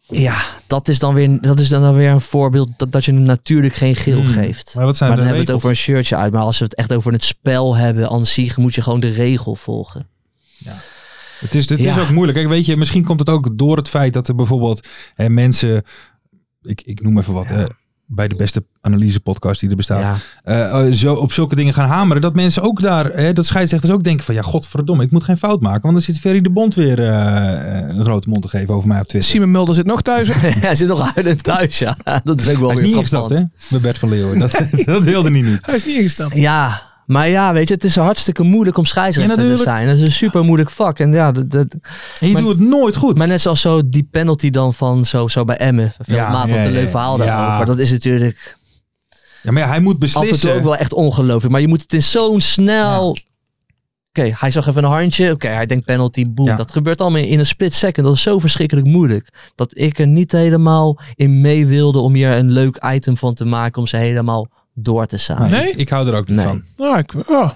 F: Ja, dat is dan weer, dat is dan weer een voorbeeld dat, dat je hem natuurlijk geen geel
D: Hmm.
F: geeft.
D: Maar wat zijn
F: maar
D: de
F: dan hebben we het
D: regels?
F: over een shirtje uit. Maar als we het echt over het spel hebben, aan zich moet je gewoon de regel volgen.
D: Het is, het is
F: Ja.
D: ook moeilijk. Kijk, weet je, misschien komt het ook door het feit dat er bijvoorbeeld hè, mensen, ik, ik noem even wat, hè, bij de beste analysepodcast die er bestaat,
F: Ja. [LAUGHS]
D: eh, eh, zo, op zulke dingen gaan hameren. Dat mensen ook daar, hè, dat scheidsrechters ook denken van, ja, godverdomme, ik moet geen fout maken. Want dan zit Ferry de Bond weer eh, eh, een grote mond te geven over mij op Twitter.
E: Simon Mulder zit nog thuis. hè?
F: Hij zit nog huilend thuis, ja. Dat is ook wel
D: Hij is
F: weer
D: niet ingestapt,
F: frappant.
D: hè? Bij Bert van Leeuwen.
F: [LAUGHS]
D: Dat, dat wilde hij niet.
E: Hij is niet ingestapt.
F: Ja, maar ja, weet je, het is hartstikke moeilijk om scheidsrechter te
D: natuurlijk.
F: zijn. Dat is een super moeilijk vak. En ja, dat, dat-
D: En je
F: Maar-
D: doet het nooit goed.
F: maar net zoals zo die penalty dan van zo, zo bij Emmen. Veel
D: Ja,
F: ja, maat
D: ja,
F: een
D: ja,
F: leuk verhaal
D: ja.
F: daarover. Dat is natuurlijk
D: ja, maar ja, hij moet
F: af en toe
D: beslissen.
F: ook wel echt ongelooflijk. Maar je moet het in zo'n snel... Oké, hij zag even een handje. Oké, hij denkt penalty, boem.
D: Ja.
F: Dat gebeurt allemaal in een split second. Dat is zo verschrikkelijk moeilijk. Dat ik er niet helemaal in mee wilde om hier een leuk item van te maken. Om ze helemaal door te slaan.
D: Nee,
E: Nee?
D: Ik, ik hou er ook niet
F: Nee.
D: van.
E: Nou, ik, oh,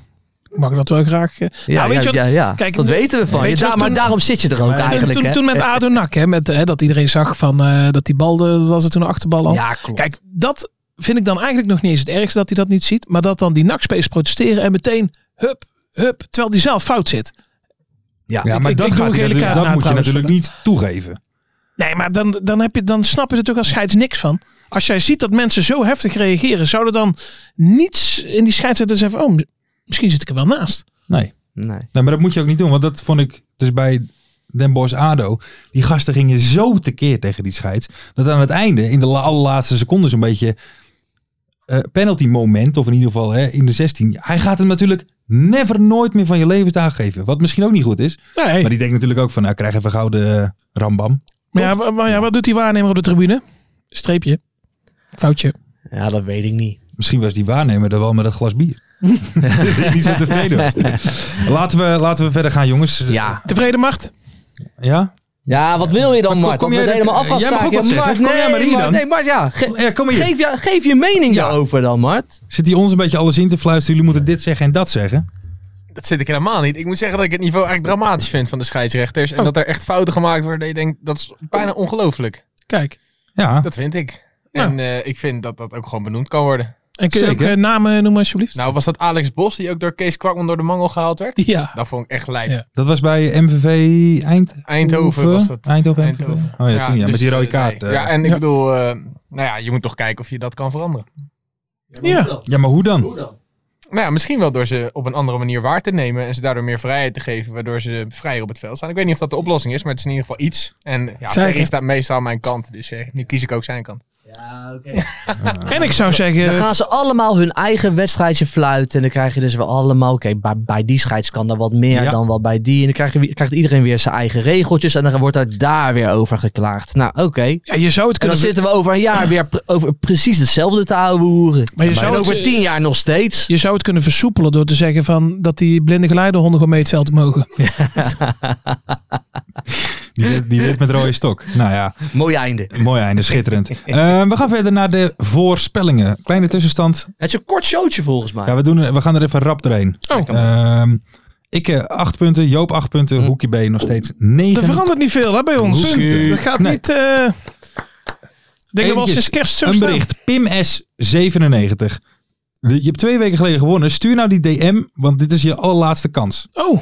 E: ik mag dat wel graag. eh.
F: Ja,
E: Nou, weet
F: ja,
E: je wat-
F: ja, ja.
E: kijk,
F: dat
E: nu-
F: weten we van
E: weet
F: je.
E: je
F: Daar-
E: wat
F: maar
E: toen-
F: daarom zit je er ook eigenlijk.
E: toen, toen,
F: hè?
E: toen met Ado Nak, hè, met, eh, dat iedereen zag van eh, dat die bal, de, dat was het toen een achterbal al.
F: Ja,
D: Oh.
F: klopt.
E: Kijk, dat vind ik dan eigenlijk nog niet eens het ergste dat hij dat niet ziet. Maar dat dan die NAC-space protesteren en meteen hup, hup, terwijl die zelf fout zit.
D: Ja,
E: ik-
D: maar
E: ik-
D: dat, gaat
E: ik doe een
D: hij
E: gele
D: natuurlijk-
E: kaart
D: dat
E: na
D: moet je
E: trouwens
D: natuurlijk niet toegeven.
E: Nee, maar dan, dan, heb je, dan snappen ze natuurlijk als scheids niks van. Als jij ziet dat mensen zo heftig reageren, zou er dan niets in die scheids zitten zeggen van, oh, mis- misschien zit ik er wel naast.
D: Nee.
F: Nee.
D: Nee, maar dat moet je ook niet doen. Want dat vond ik dus bij Den Bosch ADO. Die gasten gingen zo tekeer tegen die scheids. Dat aan het einde, in de la- allerlaatste seconden zo'n beetje... eh, penalty moment, of in ieder geval hè, in de 16. Hij gaat hem natuurlijk never nooit meer van je levensdagen geven. Wat misschien ook niet goed is.
E: Nee,
D: Maar die denkt natuurlijk ook van, nou krijg even gouden eh, rambam.
E: maar, ja, wa- maar ja, wat doet die waarnemer op de tribune? Streepje. Foutje.
F: Ja, dat weet ik niet.
D: Misschien was die waarnemer er wel met dat glas bier. [LAUGHS] niet zo tevreden. was. laten, we, laten we verder gaan, jongens.
F: Ja.
E: Tevreden macht?
D: Ja?
F: Ja, wat wil je dan, Mart?
D: kom
F: Dat
D: jij-
F: we het helemaal af
D: eh,
F: gaan
D: jij mag ook wat
F: staken.
D: zeggen.
F: Mart,
D: Kom jij maar hier
F: Mart,
D: dan.
F: Nee, Mart, ja. Ge-
D: Ja, kom hier.
F: geef, je, geef je mening
D: Ja.
F: daarover dan, Mart.
D: Zit hij ons een beetje alles in te fluisteren? Jullie moeten dit zeggen en dat zeggen.
J: Dat zit ik helemaal niet. Ik moet zeggen dat ik het niveau echt dramatisch vind van de scheidsrechters.
C: Oh.
J: En dat er echt fouten gemaakt worden. Dat je denkt, dat is bijna ongelooflijk.
E: Kijk.
D: Ja.
J: Dat vind ik.
E: Nou.
J: En eh, ik vind dat dat ook gewoon benoemd kan worden.
E: En kun je
D: Zeker.
E: ook eh, namen noemen alsjeblieft?
J: Nou, was dat Alex Bos die ook door Kees Kwakman door de mangel gehaald
F: [LAUGHS]
J: werd?
E: ja.
J: Dat vond ik echt lijp.
E: Ja.
D: Dat was bij MVV Eind...
J: Eindhoven was dat.
D: Eindhoven, MVV. Oh ja, toen, ja,
J: dus,
D: met die rode
J: eh,
D: kaart.
J: nee.
D: eh.
J: Ja, en ik
E: Ja.
J: bedoel, eh, nou ja, je moet toch kijken of je dat kan veranderen.
E: Ja.
D: Ja, maar hoe dan?
J: Nou ja, misschien wel door ze op een andere manier waar te nemen en ze daardoor meer vrijheid te geven, waardoor ze vrijer op het veld staan. Ik weet niet of dat de oplossing is, maar het is in ieder geval iets. En ja,
E: Zeker.
J: Ferry staat meestal aan mijn kant, dus eh, nu kies ik ook zijn kant.
E: En ik
F: [LAUGHS]
E: zou
F: Dan
E: zeggen,
F: gaan ze allemaal hun eigen wedstrijdje fluiten. En dan krijg je dus wel allemaal... Oké, bij, bij die scheids kan er wat meer
D: Ja.
F: dan wat bij die. En dan krijg je, wie- krijgt iedereen weer zijn eigen regeltjes. En dan wordt er daar weer over geklaagd. Nou, oké.
E: ja, je zou het
F: En dan
E: kunnen...
F: zitten we over een jaar weer pre- over precies hetzelfde te houden hoeren.
E: Maar je
F: En
E: zou
F: over
E: het-
F: tien jaar nog steeds.
E: Je zou het kunnen versoepelen door te zeggen van dat die blinde geleidehonden gewoon mee het veld
F: [LAUGHS]
E: mogen.
D: Die wit, die wit met rode stok. Nou ja,
F: Mooi einde.
D: mooi einde, schitterend. Eh, we gaan verder naar de voorspellingen. Kleine tussenstand.
F: Het is een kort showtje volgens mij.
D: Ja, we, doen, er- we gaan er even rap doorheen.
E: Oh.
D: Ehm, ik eh, acht punten, Joop acht punten, Hoekie B nog steeds negen.
E: Er verandert niet veel hè, bij ons.
D: Punten.
E: Dat gaat
D: Nee.
E: niet... eh, Ik denk dat we al
D: Eventjes
E: sinds kerst zo
D: Een
E: staan.
D: bericht. Pim S97. Je hebt twee weken geleden gewonnen. Stuur nou die DM, want dit is je allerlaatste kans.
E: Oh,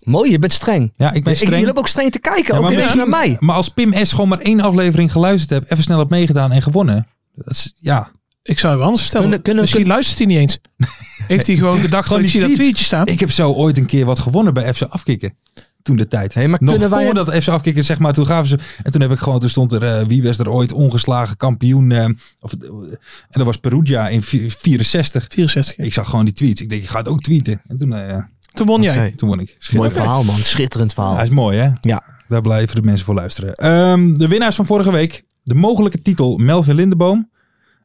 F: Mooi, je bent streng.
D: Ja, ik ben
F: Ik, jullie
D: streng.
F: hebben ook streng te kijken,
D: Ja,
F: ook ineens naar
D: misschien-
F: mij.
D: maar als Pim S gewoon maar één aflevering geluisterd hebt, even snel hebt meegedaan en gewonnen. Dat is, ja.
E: ik zou je wel anders vertellen.
F: Kunnen- kunnen-
E: Misschien luistert hij niet
F: [LAUGHS]
E: eens. Heeft hij gewoon gedacht van
D: Gewoon
E: ik zie
D: die
E: dat
D: tweets.
E: tweetje staan.
D: Ik heb zo ooit een keer wat gewonnen bij FC Afkikken. Toen de tijd.
F: Hé, maar
D: Nog
F: kunnen wij-
D: voordat FC Afkikken, zeg maar, toen gaven ze. En toen heb ik gewoon, toen stond er, eh, wie was er ooit ongeslagen kampioen? eh, of, en dat was Perugia in vi- 64.
E: 64. ja.
D: Ik zag gewoon die tweets. Ik denk, ik ga het ook tweeten. En toen, eh,
E: Toen won jij.
D: toen won ik.
F: Mooi
D: Schitterend.
F: verhaal, man. Schitterend verhaal.
D: Hij is mooi, hè?
F: Oh. Ja.
D: Daar blijven de mensen voor luisteren. Ehm, de winnaars van vorige week. De mogelijke titel Melvin Lindeboom.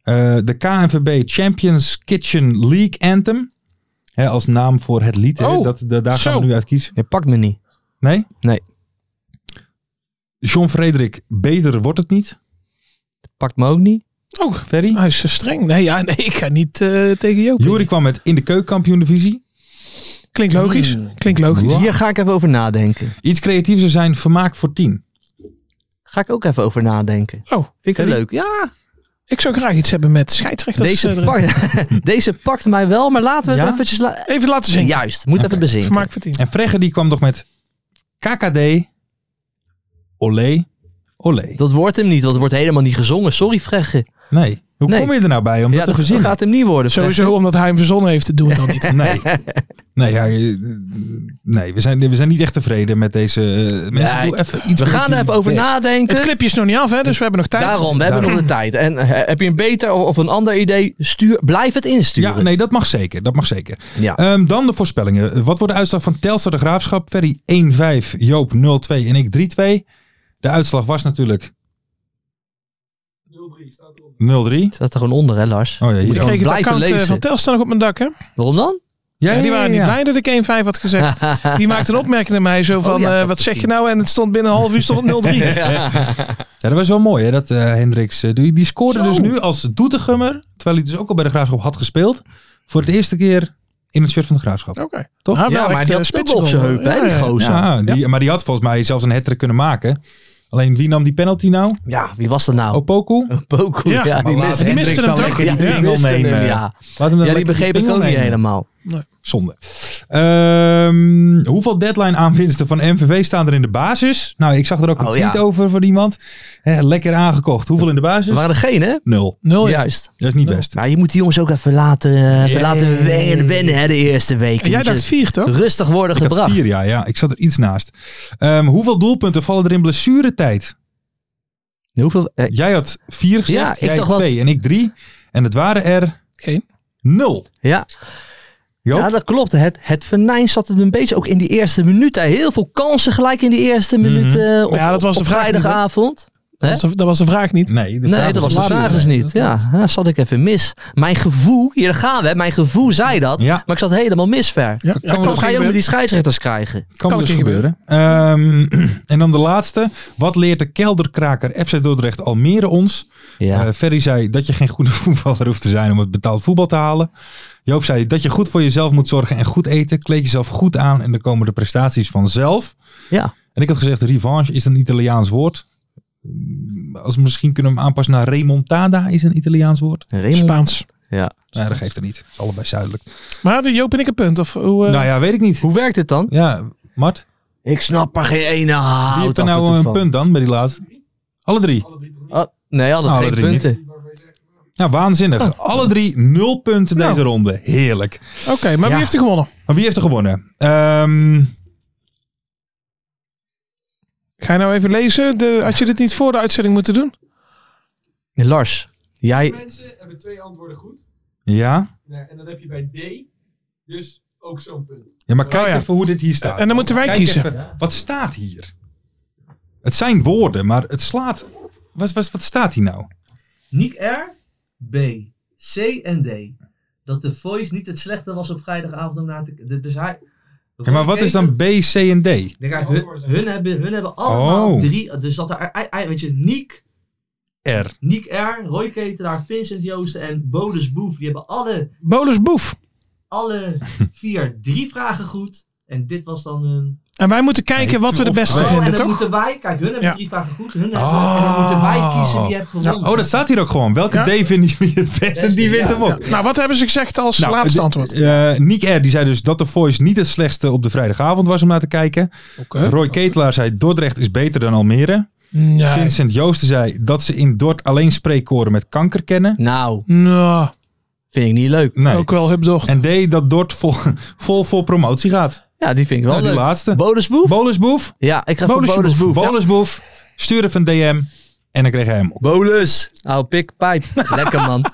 D: Eh, de KNVB Champions Kitchen League Anthem. Hè, als naam voor het lied. hè, dat, da- daar gaan we nu uit kiezen.
F: Je pakt me niet.
D: Nee?
F: Nee.
D: John Frederik, beter wordt het niet.
F: Pakt me ook niet.
E: Oh,
D: Ferry?
E: Hij is zo streng. Nee, ja, nee ik ga niet eh, tegen Joop.
D: Jury kwam met in de keukenkampioen divisie.
E: Klinkt logisch.
F: Hmm.
E: Klinkt logisch.
F: Hier ga ik even over nadenken.
D: Iets creatiever zijn, vermaak voor tien.
F: Ga ik ook even over nadenken.
E: Oh,
F: Vind ik
E: Ferry?
F: het leuk. Ja,
E: Ik zou graag iets hebben met scheidsrechters.
F: deze,
E: eh, erin.
F: pak- [LAUGHS] deze pakt mij wel, maar laten we
D: Ja?
F: het eventjes... la-
E: Even laten zien.
F: Juist, moet even bezinken.
E: Vermaak voor tien.
D: En Fregge die kwam nog met KKD, olé, olé.
F: Dat wordt hem niet, want het wordt helemaal niet gezongen. Sorry, Fregge.
D: Nee. Hoe
F: Nee.
D: kom je er nou bij om
F: Ja,
D: dat te
F: dat [LAUGHS]
D: verzinnen?
F: gaat hem niet worden.
E: Sowieso omdat hij hem verzonnen heeft, dat doen
F: [LAUGHS]
E: we dan niet.
D: Nee. Nee, ja, eh, nee we, zijn, we zijn niet echt tevreden met deze eh, mensen.
F: Nee,
D: Doe even iets
F: We gaan er
D: er
F: even over
E: Het
F: nadenken.
E: clipje is nog niet af, hè, dus we hebben nog tijd.
F: Daarom, we hebben
D: Daarom.
F: nog de tijd. En eh, heb je een beter of of een ander idee, stuur, blijf het insturen.
D: Ja, nee, dat mag zeker. Dat mag zeker.
F: Ja.
D: Ehm, dan de voorspellingen. Wat wordt de uitslag van Telstar de Graafschap? Ferry 1-5, Joop 0-2 en ik 3-2. De uitslag was natuurlijk 0-3.
F: Het staat er gewoon onder, hè,
D: Oh
F: Lars?
D: ja,
F: Moet
D: hier.
F: ik
E: Ik kreeg het
F: Blijven
E: account eh,
F: lezen.
E: van Telstar nog op mijn dak, hè?
F: Waarom dan?
D: Ja,
E: Ja, die waren niet
D: ja, ja.
E: blij dat ik 1-5 had
F: [LAUGHS]
E: gezegd. Die maakte een opmerking naar mij zo van,
F: Oh ja,
E: eh,
F: dat
E: wat zeg je
F: gezien.
E: nou? En het stond binnen een half uur
F: [LAUGHS]
E: stond het 0-3.
D: Ja, dat was wel mooi hè, dat eh, Hendricks. eh, die, die scoorde dus nu als Doetinchemmer, terwijl hij dus ook al bij de Graafschap had gespeeld, voor het eerste keer in het shirt van de Graafschap.
E: Oké.
D: Toch?
E: Nou, wel
F: Ja,
E: echt,
F: maar
E: eh,
F: die had
E: spitsengoal.
F: dubbel op zijn heup, hè, die
E: Ja, ja.
F: gozer. Ja.
D: Ja, die, maar die had volgens mij zelfs een hat kunnen maken. Alleen wie nam die penalty nou?
F: wie was dat [LAUGHS] nou?
D: Opoku?
F: Poco.
E: Ja,
F: Ja,
E: maar
F: die
D: laat
F: miste-
E: die
D: Hendricks
E: miste
D: dan
E: hem toch?
D: lekker
F: Ja,
D: Die
F: die
D: pingel
F: miste hem,
D: nemen.
F: ja.
D: Laat hem dan
F: Ja, die
D: lekker
F: begreep ik
D: pingel
F: ook niet
D: nemen.
F: helemaal.
D: Zonde. Ehm, hoeveel deadline aanwinsten van MVV staan er in de basis? Nou, ik zag er ook een
F: Oh,
D: tweet
F: ja.
D: over van iemand. Eh, lekker aangekocht. Hoeveel in de basis?
F: Er waren er geen, hè?
D: Nul.
E: Nul, ja.
F: Juist.
D: Dat is niet best.
F: Nou, je moet die jongens ook even laten, eh, even
D: Yeah.
F: laten wen- wennen, hè, de eerste week.
E: En jij
F: Je moet
E: dacht
F: ze
E: 4, toch?
F: Rustig worden
D: Ik had
F: gebracht.
D: vier, ja, ja. Ik zat er iets naast. Ehm, hoeveel doelpunten vallen er in blessuretijd?
F: Hoeveel, eh,
D: Jij had vier
F: Ja,
D: gezegd,
F: ik
D: jij
F: dacht dat-
D: twee en ik drie. En het waren er
E: Geen.
D: nul.
F: ja.
D: Joop?
F: ja, dat klopt. Het, het venijn zat het een beetje ook in die eerste minuut. Hè. Heel veel kansen gelijk in die eerste minuut eh, op,
E: Ja, dat was
F: op
E: de vraag niet, hè?
F: vrijdagavond. Hè?
E: Dat was de- dat was de vraag niet.
D: Nee, de
F: Nee,
D: vraag
F: dat was
D: was
F: de
D: later.
F: vraag dus niet. Ja, ja, zat ik even mis. Mijn gevoel, hier gaan we, hè. mijn gevoel zei dat.
D: Ja.
F: Maar ik zat helemaal mis ver.
E: Ja, ja,
F: Dan ga je ook
E: gebeuren.
F: met die scheidsrechters krijgen.
D: Kan,
E: Kan
D: dus
E: een keer
D: gebeuren. Ehm, [CLEARS THROAT] en dan de laatste. Wat leert de kelderkraker FC Dordrecht Almere ons?
F: Ja.
D: Eh, Ferry zei dat je geen goede [LAUGHS] voetballer hoeft te zijn om het betaald voetbal te halen. Joop zei dat je goed voor jezelf moet zorgen en goed eten. Kleed jezelf goed aan en dan komen de prestaties vanzelf.
F: ja.
D: En ik had gezegd, revanche is een Italiaans woord. Mm, Als we misschien kunnen we hem aanpassen naar remontada is een Italiaans woord.
F: Raymond.
E: Spaans.
F: Ja.
D: Nee, dat geeft er niet. Het is allebei zuidelijk.
E: Maar hadden Joop en ik een punt? Of hoe, eh,
D: nou ja, weet ik niet.
F: Hoe werkt het dan?
D: Ja, Mart,
F: Ik snap er geen ene hout
D: wie heeft er
F: af en
D: nou
F: toe
D: een
F: van.
D: punt dan bij die laatste? Alle drie.
F: Ah, nee, alle
D: Alle
F: geen
D: drie
F: punten.
D: Ja, Nou, waanzinnig.
F: Oh.
D: Alle drie nul punten
E: Nou.
D: deze ronde. Heerlijk.
E: Oké, maar wie
F: Ja.
E: heeft er gewonnen?
D: Maar wie heeft er gewonnen? Ehm,
E: Ga je nou even lezen? De, had je dit niet voor de uitzending moeten doen?
F: Lars, jij...
J: Mensen hebben twee antwoorden goed.
D: ja.
J: En dan heb je bij D dus ook zo'n punt.
D: ja, maar kijk
E: Oh ja.
D: even hoe dit hier staat.
E: En dan moeten wij
D: Kijk
E: kiezen.
D: even, wat staat hier? Het zijn woorden, maar het slaat... Wat, wat, wat staat hier nou?
F: Nick R, B, C en D. Dat de Voice niet het slechte was op vrijdagavond om na te... Dus hij...
D: Ja, maar wat is dan B, C en D?
F: Denk aan, hun, hun, hebben, hun hebben allemaal
D: Oh.
F: drie. Dus dat er, ei- ei- weet je, Niek,
D: R.
F: Niek R, Roy Ketelaar, Vincent Joosten en Bodus Boef. Die hebben alle,
E: Bolus Boef.
D: [LAUGHS]
F: alle vier drie vragen goed. En dit was dan hun...
E: En wij moeten kijken wat we de beste
D: Oh, en
F: en
E: vinden,
F: dan
E: toch?
F: moeten wij... Kijk, hun hebben
E: Ja.
F: drie vragen goed. Hun hebben, en dan moeten wij kiezen wie heeft gewonnen.
D: Oh, dat staat hier ook gewoon. Welke
E: Ja.
D: D vinden jullie het best? En die wint
F: Ja,
D: hem op.
E: Nou, wat hebben ze gezegd als
D: Nou,
E: laatste
D: de-
E: antwoord?
D: eh, Nick R. die zei dus dat de Voice niet het slechtste op de vrijdagavond was om naar te kijken.
E: Oké.
D: Roy Ketelaar zei Dordrecht is beter dan Almere.
E: Nee.
D: Vincent Joosten zei dat ze in Dort alleen spreekkoren met kanker kennen. [LAUGHS]
F: Nou,
E: Nou,
F: vind ik niet leuk.
D: Nee.
E: ook wel hupdocht.
D: En D dat Dort vol, [LAUGHS] vol voor promotie gaat.
F: Ja, die vind ik wel
D: Nou, die
F: leuk.
D: laatste.
F: Bodus Boef?
D: Bolusboef.
F: ja, ik ga voor Bodus
D: Bolusboef.
F: Boef.
D: Bolusboef. Stuur even een DM. En dan kreeg hij
F: [LAUGHS]
D: hem op.
F: Bolus. Oude Oh, pik,
D: [LAUGHS]
F: pijp. Lekker man.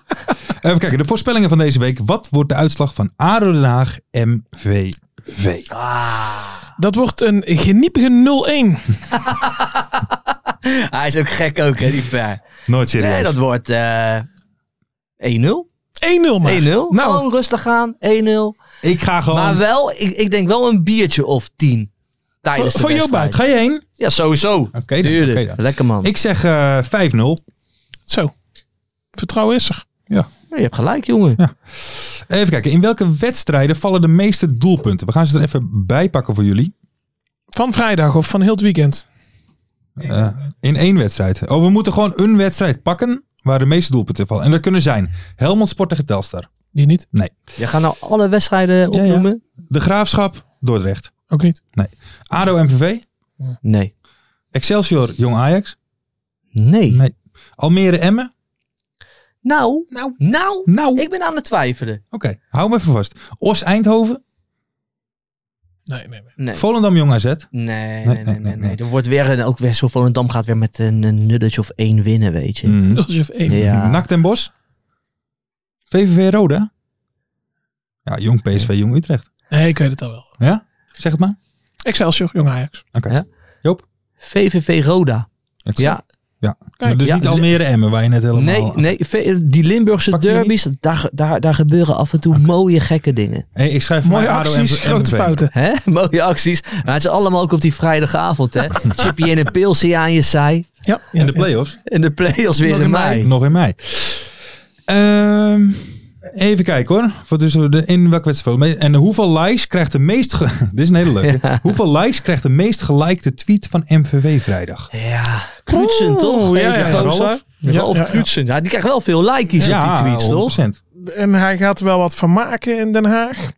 D: Even kijken, de voorspellingen van deze week. Wat wordt de uitslag van ADO Den Haag MVV?
E: Dat wordt een geniepige 0-1.
F: Hij is ook gek ook, hè, die ver.
D: Nooit serieus.
F: Nee, dat wordt eh 1-0. 1-0
E: 1-0 maar.
F: Nou,
E: Nou.
F: rustig aan. 1-0.
D: Ik ga gewoon...
F: Maar wel, ik, ik denk wel een biertje of tien. Tijdens
D: Voor- voor jou buit. Ga je heen?
F: Ja, sowieso.
D: Oké, dan,
F: Tuurlijk.
D: oké dan.
F: Lekker man.
D: Ik zeg eh 5-0.
E: Zo. Vertrouwen is er.
D: Ja.
F: Je hebt gelijk, jongen.
D: Ja. Even kijken, in welke wedstrijden vallen de meeste doelpunten? We gaan ze er even bij pakken voor jullie.
E: Van vrijdag of van heel het weekend?
D: Eh, in één wedstrijd. Oh, we moeten gewoon een wedstrijd pakken waar de meeste doelpunten vallen. En dat kunnen zijn Helmond Sport tegen Telstar.
E: Die niet?
D: Nee.
F: Je gaat nou alle wedstrijden
D: Ja, ja.
F: opnoemen?
D: De Graafschap, Dordrecht.
E: Ook niet.
D: Nee. ADO MVV.
F: Nee.
D: Excelsior, Jong Ajax.
F: Nee.
D: Nee. Almere Emmen.
F: Nou, nou, nou,
D: Nou, oké.
F: ik ben aan het twijfelen.
D: Hou me even vast. Os Eindhoven.
E: Nee, nee. nee.
F: Nee.
D: Volendam, Jong AZ.
F: Nee, nee,
D: nee,
F: nee,
D: nee,
F: nee, Er wordt weer, een- ook weer zo Volendam gaat weer met een, een nulletje of één winnen, weet je.
D: Mm.
E: Alsof één.
F: Ja.
D: Nakt en Bos. VVV Roda. Ja, Jong PSV, Jong Utrecht.
E: Nee, ik weet het al wel.
D: Ja? Zeg het maar.
E: Excelsior, Jong Ajax.
D: Oké.
F: Ja.
D: Joop.
F: VVV Roda.
D: Excelsior.
F: Ja,
D: Ja.
E: Kijk,
D: dus
F: ja,
D: niet Almere Emmen, waar je net helemaal...
F: nee, nee, ve- die Limburgse
D: Pak je
F: derbies, daar, daar, daar gebeuren af en toe mooie gekke dingen.
D: Hey, ik schrijf
E: Mooie
D: maar ADO
E: acties,
D: en- en
E: grote
D: MVV.
E: fouten.
F: Hè? [LAUGHS] Mooie acties. Maar het is allemaal ook op die vrijdagavond, hè. Chippy en een pilsie aan je zij.
E: Ja.
D: In de play-offs.
F: En de play-offs
E: Nog
F: weer
E: in
F: in
E: mei.
F: mei.
D: Nog in mei. Ehm, even kijken hoor. Voor dus de- in welke wedstrijd. En hoeveel likes krijgt de meest... ge- [LAUGHS] Dit is een hele leuke. Hoeveel likes krijgt de meest gelikte tweet van MVV vrijdag?
F: Ja, Krutsen
E: Oeh,
F: toch?
E: ja,
F: Heet
E: ja,
F: die gozer?
E: ja.
D: Ralf?
F: Ralf
E: Ja, ja, ja.
F: Krutsen. Ja, die krijgt wel veel likejes op die tweets, toch?
D: 100%.
E: En hij gaat er wel wat van maken in Den Haag.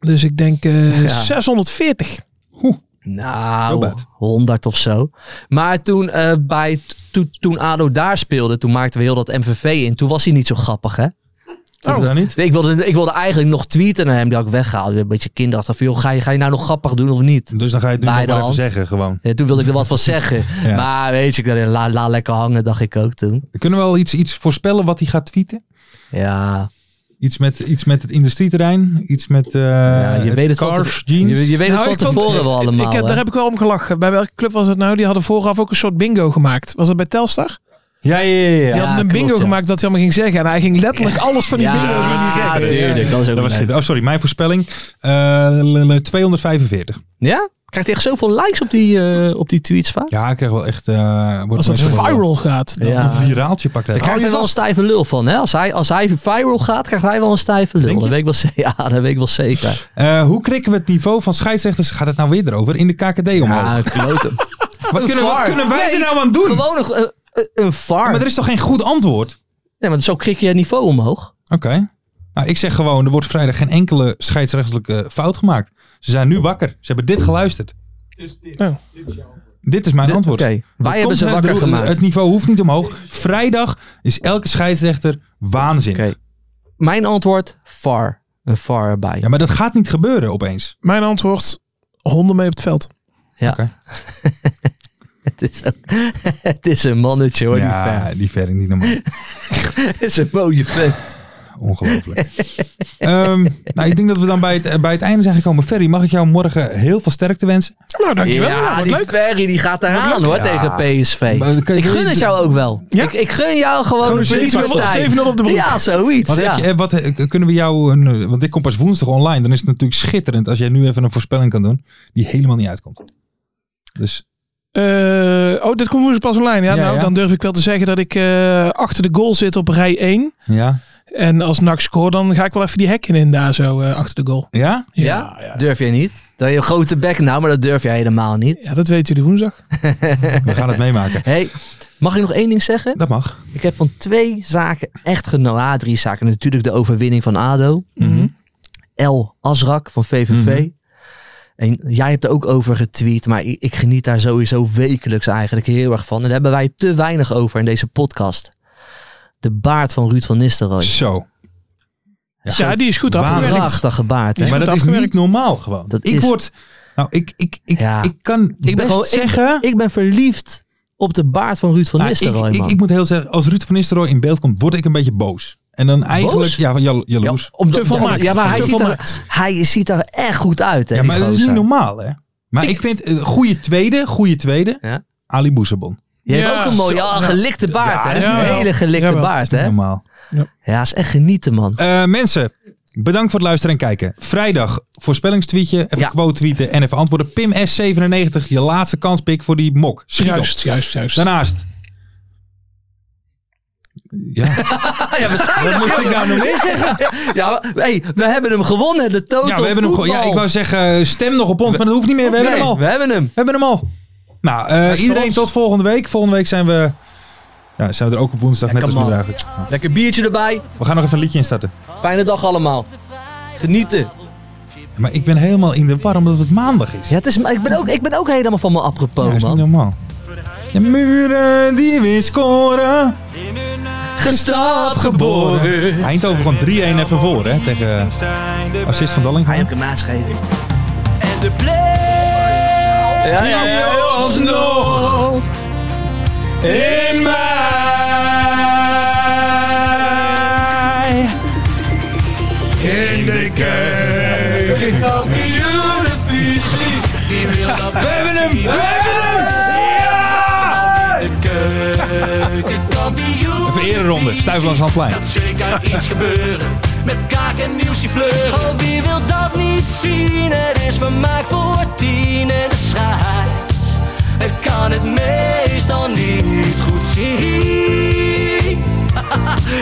E: Dus ik denk eh,
F: Ja.
E: 640.
D: Heel
F: Nou,
D: bad.
F: 100 of zo. Maar toen, eh, bij, to- toen Ado daar speelde, toen maakten we heel dat MVV in. Toen was hij niet zo grappig, hè?
D: Snap
F: Oh.
D: je dat niet?
F: Ik wilde, ik wilde eigenlijk nog tweeten naar hem, die had ik weggehaald. Een beetje kinderachtig. van, joh, Ga je, ga je nou nog grappig doen of niet?
D: Dus dan ga je het nu nog
F: Bij de
D: maar even
F: hand.
D: zeggen gewoon.
F: Ja, toen wilde ik er wat van zeggen.
D: Ja.
F: Maar weet je, ik dacht, la, la lekker hangen, dacht ik ook toen.
D: Kunnen we al iets, iets voorspellen wat hij gaat tweeten?
F: Ja,
D: Iets met, iets met het industrieterrein? Iets met eh
F: ja je, weet het van
D: cars,
F: te-
D: jeans?
F: je, je weet
E: Nou,
F: het
E: ik
F: van
E: vond-
F: tevoren wel
E: ik-
F: allemaal.
E: Ik, heb-
F: hè?
E: daar heb ik wel om gelachen. Bij welke club was het nou? Die hadden vooraf ook een soort bingo gemaakt. Was dat bij Telstar?
D: Ja, ja, ja. ja.
E: Die hadden een
F: klopt,
E: bingo
F: ja.
E: gemaakt wat hij allemaal ging zeggen. En hij ging letterlijk alles van die
F: ja,
E: bingo ging hij zeggen.
F: tuurlijk. Dat is
D: Dat was
F: ook leuk.
D: schitterend. Oh, sorry. Mijn voorspelling. eh, l- l- 245.
F: Ja? Krijgt hij echt zoveel likes op die, eh, op die tweets vaak?
D: Ja, ik krijg wel echt... eh wordt
E: Als dat
D: mensen wel-
E: viral gaat. dan-
F: Ja.
D: Een viraaltje pakt
F: Daar
D: hij. Oh,
F: krijgt hij wel een stijve lul van. Hè? Als, hij, als hij viral gaat, krijgt hij wel een stijve lul.
D: Denk je?
F: Dat weet ik wel, ze- [LAUGHS] ja, dat weet ik wel zeker.
D: Eh, hoe krikken we het niveau van scheidsrechters, gaat het nou weer erover, in de KKD omhoog?
F: Ja, kloten.
D: wat,
F: een
D: kunnen, wat
F: VAR.
D: kunnen wij er
F: Nee,
D: nou aan doen?
F: Gewoon een, een- een, een var.
D: Maar er is toch geen goed antwoord?
F: Nee, maar zo krik je het niveau omhoog.
D: Oké. Nou, ik zeg gewoon, er wordt vrijdag geen enkele scheidsrechtelijke eh, fout gemaakt. Ze zijn nu wakker. Ze hebben dit geluisterd.
E: Nou,
D: Dus Dit is mijn antwoord.
F: Oké,
D: Dat
F: wij hebben
D: komt,
F: ze
D: hè,
F: wakker
D: bedoel,
F: gemaakt.
D: Het niveau hoeft niet omhoog. Vrijdag is elke scheidsrechter waanzinnig.
F: Oké. Mijn antwoord, var. Een var erbij.
D: Ja, maar dat gaat niet gebeuren opeens.
E: Mijn antwoord, honden mee op het veld.
F: [LAUGHS] het, is een, het is een mannetje hoor,
D: ja,
F: die fan.
D: die verre niet normaal.
F: [LAUGHS] Het is een mooie vent.
D: Ongelooflijk. [LAUGHS] Ehm, nou, ik denk dat we dan bij het, eh, bij het einde zijn gekomen. Ferry, mag ik jou morgen heel veel sterkte wensen?
F: Oh,
E: Nou, dankjewel. Ja,
F: Ja,
E: wat
F: die
E: leuk.
F: Ferry die gaat eraan hoor, tegen PSV.
D: Maar kan je-
F: Ik gun het jou ook wel.
E: Ja?
F: Ik, ik gun jou gewoon
E: Gewoon
F: een
E: een 7-0 op-
F: winstpartij.
E: 7-0 op de broek.
F: Ja, zoiets.
D: Wat, heb
F: ja.
D: je, eh, wat eh, kunnen we jou, een, eh, want dit komt pas woensdag online, dan is het natuurlijk schitterend als jij nu even een voorspelling kan doen die helemaal niet uitkomt. Dus
E: Eh, oh, dit komt woensdag pas online. Ja,
D: Ja,
E: nou,
D: ja.
E: dan durf ik wel te zeggen dat ik eh, achter de goal zit op rij 1.
D: ja.
E: En als NAC scoort, dan ga ik wel even die hekken in daar zo eh, achter de goal.
D: Ja?
F: Ja? Durf jij niet? Dan je grote bek nou, maar dat durf jij helemaal niet.
E: Ja, dat weten jullie woensdag.
D: We gaan het meemaken.
F: hey, mag ik nog één ding zeggen?
D: Dat mag.
F: Ik heb van twee zaken echt genoten. Ah, drie zaken. Natuurlijk de overwinning van ADO. El Azrak van VVV.
D: Mhm.
F: En jij hebt er ook over getweet, maar ik, ik geniet daar sowieso wekelijks eigenlijk heel erg van. En daar hebben wij te weinig over in deze podcast. De baard van Ruud van Nistelrooy.
D: Zo.
E: Ja, die is goed
D: Waarom?
E: afgewerkt.
F: Prachtige baard. hè?
E: is
D: maar
E: goed
D: dat is niet
E: afgewerkt.
D: normaal gewoon.
F: Dat
D: ik
F: is-
D: word, nou ik, ik, ik,
F: Ja.
D: ik kan
F: ben
D: best
F: gewoon- ik-
D: zeggen...
F: Ik ben verliefd op de baard van Ruud van
D: Nou,
F: Nistelrooy,
D: ik, ik,
F: man.
D: ik moet heel zeggen, als Ruud van Nistelrooy in beeld komt, word ik een beetje boos. En dan eigenlijk,
F: Boos?
D: ja, jalo- jaloers.
F: Ja, omdat-
E: Te volmaakt.
F: ja, maar hij
E: Te
F: ziet, er,
E: volmaakt.
F: hij ziet er echt goed uit. Hè,
D: Ja,
F: die
D: maar dat is
F: gozer.
D: niet normaal, hè? Maar ik, vind, eh, goede tweede, goede tweede,
F: Ja.
D: Ali Boezebon.
F: Je
E: Ja,
F: hebt ook een mooie
E: zo-
F: ah,
E: ja.
F: gelikte
D: nou,
F: baard,
E: Ja,
F: hè?
E: ja,
F: Een
E: ja.
F: hele gelikte
E: Jawel.
F: baard,
D: Niet
F: hè?
D: normaal.
F: Ja, is echt genieten, man. [LAUGHS]
D: Eh, mensen, Bedankt voor het luisteren en kijken. Vrijdag voorspellingstweetje, even quote tweeten en even antwoorden. Pim S97, je laatste kanspik voor die mok. Schiet
E: Juist,
D: op.
E: juist, juist.
D: Daarnaast. Ja.
F: [LAUGHS] ja, we zijn
D: Wat
F: er.
D: moest ik nou nog meer zeggen?
F: Ja, maar, hey, we hebben hem gewonnen. De total
D: Ja, we hebben hem gewoon. Ja, ik wou zeggen, eh, stem nog op ons, maar dat hoeft niet meer. We hebben
F: Nee,
D: hem al.
F: we hebben hem.
D: We hebben hem al. Nou, eh,
F: is
D: iedereen
F: ons.
D: tot volgende week. Volgende week zijn we, ja, zijn we er ook op woensdag, net
F: Lekker
D: als nu
F: man.
D: eigenlijk.
F: Lekker biertje erbij.
D: We gaan nog even een liedje instarten.
F: Fijne dag allemaal. Genieten.
D: Maar ik ben helemaal in de war omdat het maandag is.
F: Ja, het is, ik, ben ook, ik ben ook helemaal van me apropos,
D: Ja, is niet
F: man.
D: normaal. De muren die we scoren.
F: Gestaat
D: Geboren. Eindhoven gewoon 3-1 even voor, hè? Tegen assist van Dalling.
F: Ga je ook een maat geven?
A: de play
F: Ja, ja, ja.
A: alsnog in mei. In de keuken, kampioenenvisie. Wie wil dat We hebben hem, we hebben hem! Ja! De keukenkampioen.
D: Even eerder ronde, Stuiflands Handplein.
A: Gaat zeker iets gebeuren. Met kaak en nieuwsje fleuren. Oh, wie wil dat niet zien? Er is vermaakt voor tien en de scheids. Ik kan het meestal niet goed zien.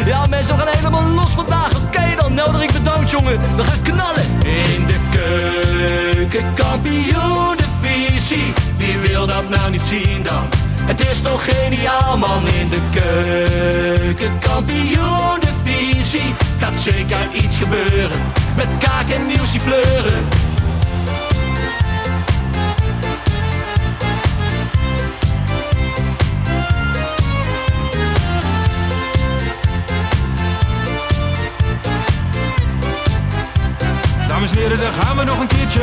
A: Ja, mensen, we gaan helemaal los vandaag. Oké dan, Nelderik bedankt, jongen. We gaan knallen. In de keuken, kampioen, de visie. Wie wil dat nou niet zien dan? Het is toch geniaal, man. In de keuken, kampioen, de visie. Gaat zeker iets gebeuren. Met kaak en nieuwsie fleuren.
I: Dames en heren, daar gaan we nog een keertje.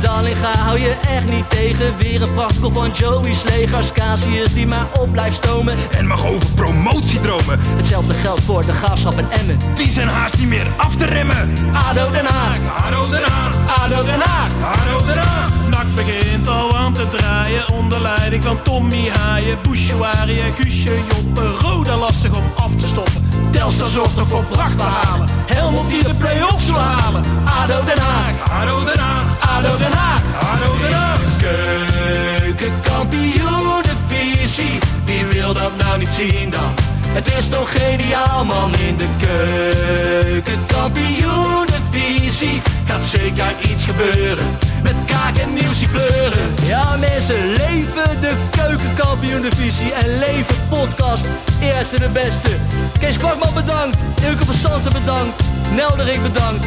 A: Dallinga hou je echt niet tegen. Weer een prachtkel van Joey's legers. Casius die maar op blijft stomen.
I: En mag over promotie dromen.
A: Hetzelfde geldt voor de gaafschap en Emmen.
I: Die zijn haast niet meer af te remmen.
A: ADO Den Haag.
I: ADO Den Haag.
A: ADO Den Haag.
I: ADO Den Haag.
K: Nak begint al aan te draaien onder leiding van Tommy Haaien, Bouchouari en Guusje Joppe. Roda lastig om af te stoppen.
A: Telstar zorgt nog voor pracht te halen. Helmond die de play-offs wil halen. ADO Den Haag. ADO Den Haag. ADO Den Haag. ADO Den Haag. Keukenkampioenenvisie. Wie wil dat nou niet zien dan? Het is toch geniaal man in de keukenkampioenenvisie. Gaat zeker iets gebeuren. Met kaak en nieuwsie kleuren.
K: Ja
A: mensen, leven de keukenkampioenenvisie en leven podcast. Eerste de beste. Kees Kwakman bedankt. Ilke van Santen bedankt. Nelderik bedankt.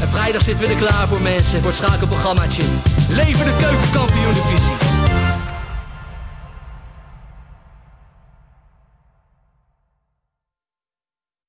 A: En vrijdag zitten we er klaar voor mensen, voor het schakelprogrammaatje. Leven de keukenkampioenenvisie.